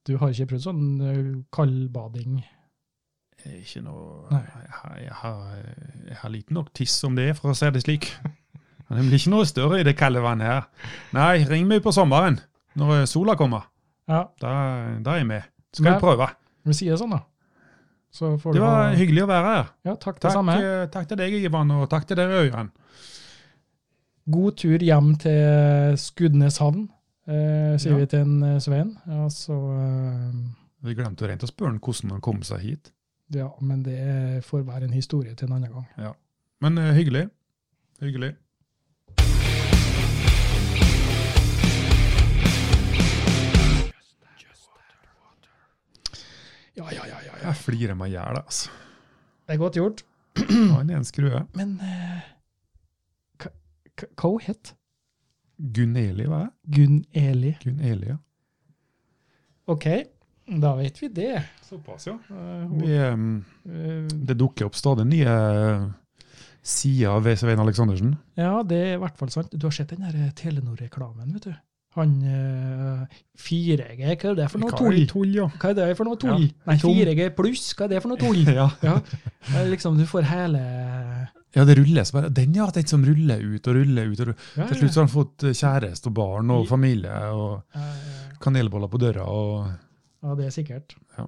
Du har ikke prøvd sånn eh, kaldbading?
Det er Ikke noe
Nei.
jeg, har- jeg, har, jeg har liten nok tiss som det er, for å si det slik. Men Det blir ikke noe større i det kalde vannet her. Nei, ring meg på sommeren når eh, sola kommer.
Ja,
Da, da er jeg med. Skal jeg
Nei.
prøve.
vi sier det sånn, da. Så får
Det
du
var
ha
hyggelig å være her.
Ja, takk, det
Takk,
samme.
eh, takk til deg, Ivan, og takk til dere, Øyvind.
God tur hjem til Skudeneshavn, eh, sier
Ja.
vi til en eh, Svein. Ja, så eh,
Vi glemte rent å spørre han hvordan han kom seg hit.
Ja, men det får være en historie til en annen gang.
Men eh, hyggelig. Hyggelig.
Ja, ja, ja. ja, ja.
Jeg flirer meg i hjel, altså.
Det er godt gjort.
Han er en skrue.
Men eh, hva- hva hva hun het
Gunn-Eli, hva er det?
Gunn Eli.
Gunn-Eli, ja.
Ok, da vet vi det.
Såpass, ja.
Eh, hun-
Vi, ehm,
eh,
Det dukker opp stadig nye eh, sider ved Svein Aleksandersen.
ja, det er i hvert fall sant. Du har sett den der eh, Telenor-reklamen, vet du. Han eh, 4G, hva er det for noe
Hva er
tull?
det? tull, ja.
Hva er det for noe tull?
Ja,
Nei,
tom.
4G pluss, hva er det for noe tull?
ja.
(laughs) Ja, det er liksom du får hele
Ja, det ruller så bare. Den ja, den som ruller ut og ruller ut. Og ruller.
ja,
Til slutt så har han fått eh, kjæreste og barn og familie og
ja, ja,
kanelboller på døra. og
ja, det er sikkert.
Ja.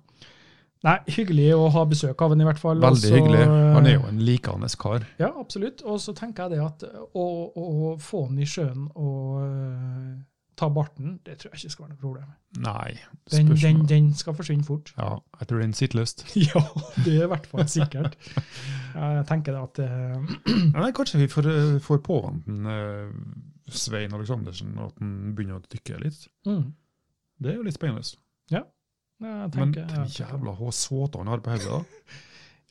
Nei, hyggelig å ha besøk av han i hvert fall. og
Veldig
så-
hyggelig.
eh,
Han er jo en likende kar.
Ja, absolutt. Og så tenker jeg det at å, å, å få han i sjøen og øh, ta barten, det tror jeg ikke skal være noe problem.
Nei,
Den, den,
spørsmål.
den skal forsvinne fort. (laughs)
Ja, jeg tror den sitter løst.
Ja, det er i hvert fall
(laughs)
sikkert. Jeg tenker det at øh,
Nei, kanskje vi får, eh, får påvant den, eh, Svein Aleksandersen, og at han begynner å dykke litt.
mm,
Det er jo litt spennende.
jeg
Men
tenker,
den jævla hva såta han har på hodet, da.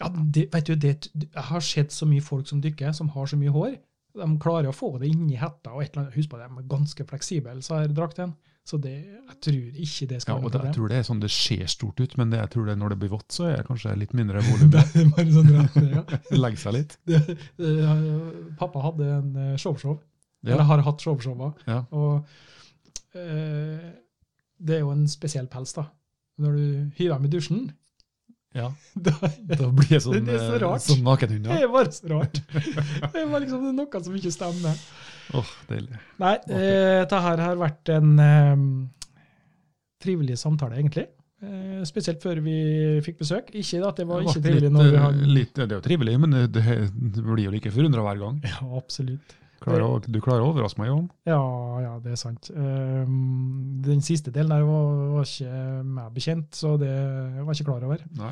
Ja, det, vet du, det, jeg har sett så mye folk som dykker, som har så mye hår. De klarer å få det inni hetta og et eller annet. Husk på, de er ganske fleksible, så her drakten. Så det, jeg tror ikke det
Ja,
skal være
og
noe
det, jeg
problem.
tror det er sånn det ser stort ut, men det, jeg tror det når det blir vått, så er det kanskje litt mindre
(laughs)
volum.
Det er bare sånn rett, ja.
Legger seg litt.
det, eh, pappa hadde en eh, showshow,
Ja.
eller har hatt showshowa,
Ja.
og eh, det er jo en spesiell pels da. Når du hiver dem i dusjen, (laughs)
Ja,
da
Da blir jeg sånn,
Det er så
eh,
rart.
sånn nakenhund,
det
ja.
er bare så rart. Det var liksom noe som ikke stemmer.
Åh, deilig.
Nei, eh, dette her har vært en eh, trivelig samtale egentlig. Eh, spesielt før vi fikk besøk. Ikke at det var ikke
ble
trivelig
litt,
når vi
eh,
har...
litt, Det er jo trivelig, men eh, det, det det blir jo like forundra hver gang.
Ja, absolutt.
Klarer, å- du klarer å overraske meg, Jon.
Ja, ja, det er sant. Ehm, den siste delen der var, var ikke meg bekjent, så det var jeg ikke klar over.
Nei.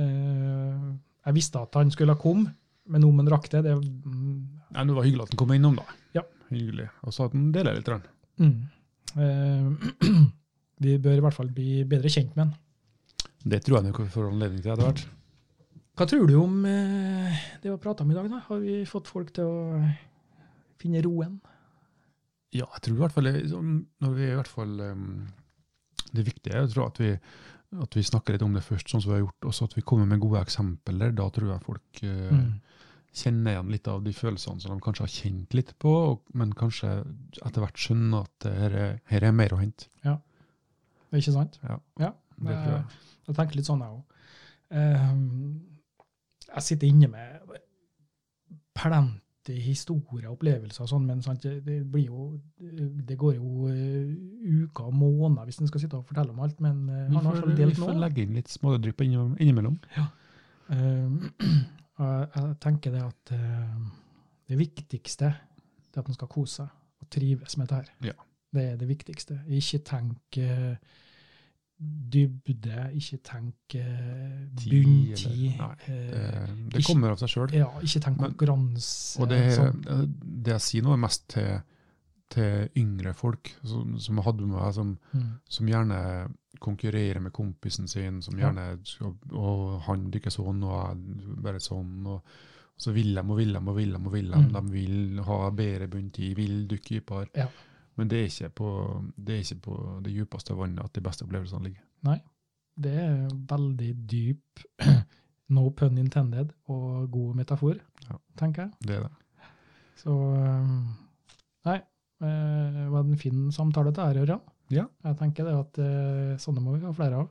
Ehm, jeg visste at han skulle komme, men om han rakk det, det mm,
Nei, men Det var hyggelig at han kom innom, da.
Ja.
Hyggelig. Og så at han deler litt. grann.
mm. Ehm, (clears throat) Vi bør i hvert fall bli bedre kjent med han.
Det tror jeg nok vi får anledning til etter hvert.
Hva tror du om eh, det vi har prata om i dag? da? Har vi fått folk til å finne roen?
Ja, jeg tror i hvert fall det, sånn, når vi i hvert fall um, Det viktige er jeg tror at vi, at vi snakker litt om det først, sånn som vi har gjort, og så at vi kommer med gode eksempler. Da tror jeg folk eh,
Mm.
kjenner igjen litt av de følelsene som de kanskje har kjent litt på, og, men kanskje etter hvert skjønner at det her, er- her er mer å hente.
Ikke sant?
Ja,
Ja,
det tror jeg.
Jeg tenker litt sånn, jeg òg. jeg sitter inne med plenty historier og opplevelser og sånn, men sant, det, det blir jo Det går jo eh, uker og måneder hvis en skal sitte og fortelle om alt, men eh,
Vi
han har
får,
sånn
vi
delt
får
nå.
legge inn litt smådrypp innom- innimellom.
Eh, (clears throat) og jeg, jeg tenker det at eh, det viktigste det er at en skal kose seg og trives med dette her.
Ja.
Det er det viktigste. Ikke tenk eh, dybde, ikke tenk eh,
Tid,
bunntid.
eller- Det,
eh,
det
Ikke-
kommer av seg sjøl.
Ja, ikke tenk
Men-
konkurranse.
Og det, eh,
sånn.
det jeg sier nå, er mest til, til yngre folk som, som jeg hadde med meg, som,
Mm.
som gjerne konkurrerer med kompisen sin, som
Ja.
gjerne og, og han dykker sånn, og jeg bare sånn. og så vil de og vil de og vil de. og vil De
Mm.
De vil ha bedre bunntid, vil dukke dypere.
Ja.
Men det er, ikke på, det er ikke på det djupeste vannet at de beste opplevelsene ligger.
Det er veldig dyp, (clears throat) no pun intended, og god metafor,
Ja.
tenker jeg.
Det er det.
Så um, Nei, eh, det var en fin samtale til her, Ørjan.
Ja.
Jeg tenker det at eh, sånne må vi ha flere av.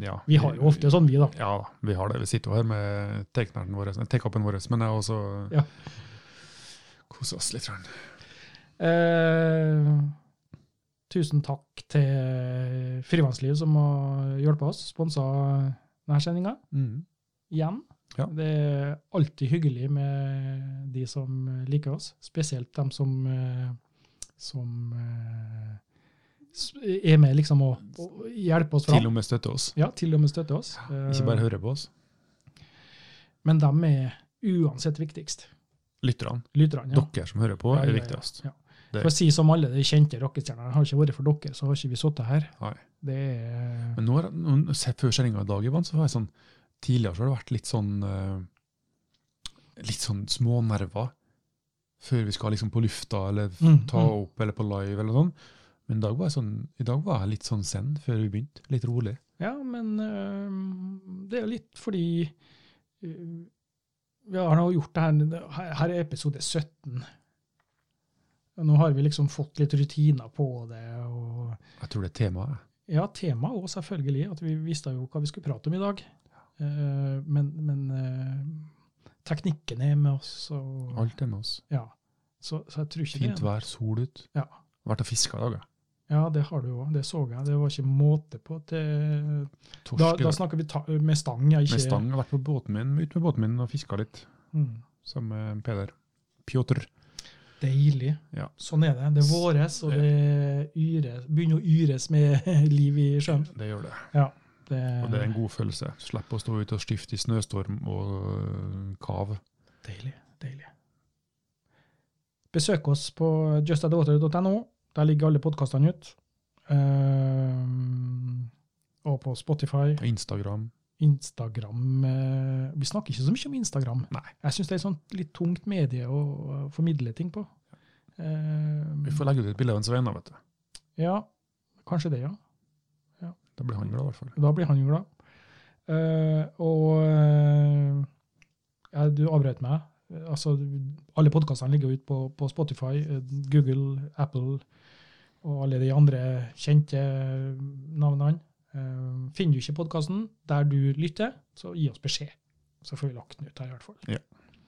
Ja.
Vi har jo ofte sånn, vi, da.
Ja da, vi har det. Vi sitter jo her med take-upen vår, take vår, men jeg også
Ja.
koser oss litt. grann.
Eh, tusen takk til Frivannsliv som har hjulpet oss, sponsa denne sendinga igjen.
Ja.
Det er alltid hyggelig med de som liker oss, spesielt dem som, eh, som eh, s- er med liksom å å hjelpe oss
Til
fram.
og med støtte oss.
Ja, til og med støtter oss. Eh,
Ikke bare høre på oss.
Men de er uansett viktigst.
Lytterne.
Lytterne. ja.
Dere som hører på,
Ja, ja,
er
ja.
viktigst.
Ja.
Det-
For å si som alle de kjente rockestjernene, har ikke vært for dere, så har ikke vi sittet her.
Nei.
Det er
Men nå, er- nå se- før sendinga i dag, Ivan, så var jeg sånn Tidligere så har det vært litt sånn eh, Litt sånn smånerver før vi skal liksom på lufta eller f-
Mm,
ta
mm.
opp eller på live eller sånn. Men i dag var jeg, sånn, i dag var jeg litt sånn zen før vi begynte. Litt rolig.
Ja, men øhm, det er jo litt fordi øh, Vi har nå gjort det her Her er episode 17. Nå har vi liksom fått litt rutiner på det. og
Jeg tror det er temaet.
Ja, temaet òg, selvfølgelig. At vi visste jo hva vi skulle prate om i dag. Eh, Men, men eh, teknikken er med oss. Og,
Alt er med oss.
Ja. Så, så jeg tror ikke
Fint
det.
vær, sol ut.
Ja.
Vært og fiska i dag, jeg.
Ja, det har du òg. Det så jeg. Det var ikke måte på. Det,
Torsk
da,
i dag.
da snakker vi ta med stang. Ja, ikke,
med stang. Jeg har vært på båten min, ut med båten min og fiska litt,
Mm.
sammen med Peder. Pjotr.
Deilig.
Ja.
Sånn er det. Det er våres, og det yres, begynner å yres med (laughs) liv i sjøen.
Det gjør det.
Det,
Og det er
Mm.
en god følelse. Slipp å stå ute og stifte i snøstorm og øh, kav.
Deilig. Deilig. Besøk oss på justadawater.no. Der ligger alle podkastene ut. Ehm, og på Spotify,
Og Instagram.
Instagram eh, Vi snakker ikke så mye om Instagram.
Nei.
Jeg syns det er et sånt litt tungt medie å å formidle ting på. Ehm,
Vi får legge ut et bilde av en Svein, da, vet du.
ja, kanskje det, ja.
Da blir han glad, i hvert fall.
Da blir han jo glad. Eh, og eh, ja, du avbrøt meg. Eh, Altså, alle podkastene ligger jo ute på, på Spotify, eh, Google, Apple og alle de andre kjente navnene. Eh, finner du ikke podkasten der du lytter, så gi oss beskjed. Så får vi lagt den ut her, i hvert fall.
Ja.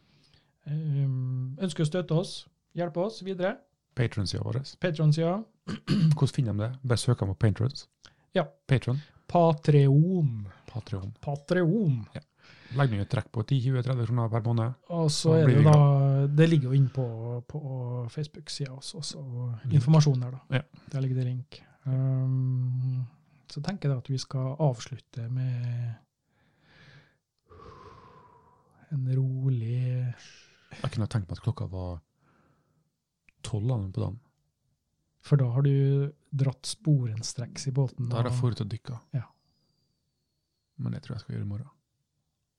Eh, ønsker å støtte oss, hjelpe oss videre.
Patronsida vår.
Patron-sida.
Hvordan finner de det? Bare søk dem på Patrons.
Mm. Ja.
Patron.
Patreon.
Patreon.
Patreon.
Legg ned et trekk på 10-20-30 kroner per måned.
Og så
Da
er
blir
det
vi
jo da Det ligger jo inne på, på Facebook-sida også, så informasjon der, da.
Ja.
Der ligger det link. Um, så tenker jeg da at vi skal avslutte med en rolig
Jeg kunne tenkt meg at klokka var tolv på dagen.
For da har du dratt sporenstreks i båten.
Da har jeg
og-
forut og dykka.
Ja.
Men det tror jeg skal gjøre i morgen.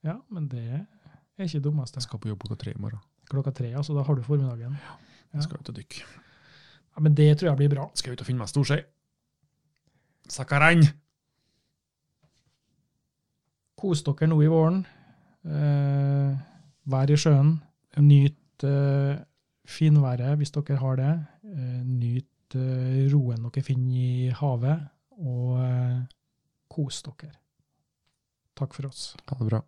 Ja, men det er ikke det dummeste.
Jeg skal på jobb klokka tre i morgen.
Klokka tre, altså. Da har du formiddagen. Ja.
Jeg skal ut og dykke.
Ja, men det tror jeg blir bra.
Skal ut og finne meg storskei. Sakkarein!
Kos dere nå i våren. Eh, vær i sjøen. Nyt eh, finværet hvis dere har det. Eh, nyt eh, roen dere finner i havet, og eh, kos dere. Takk for oss.
Ha det bra.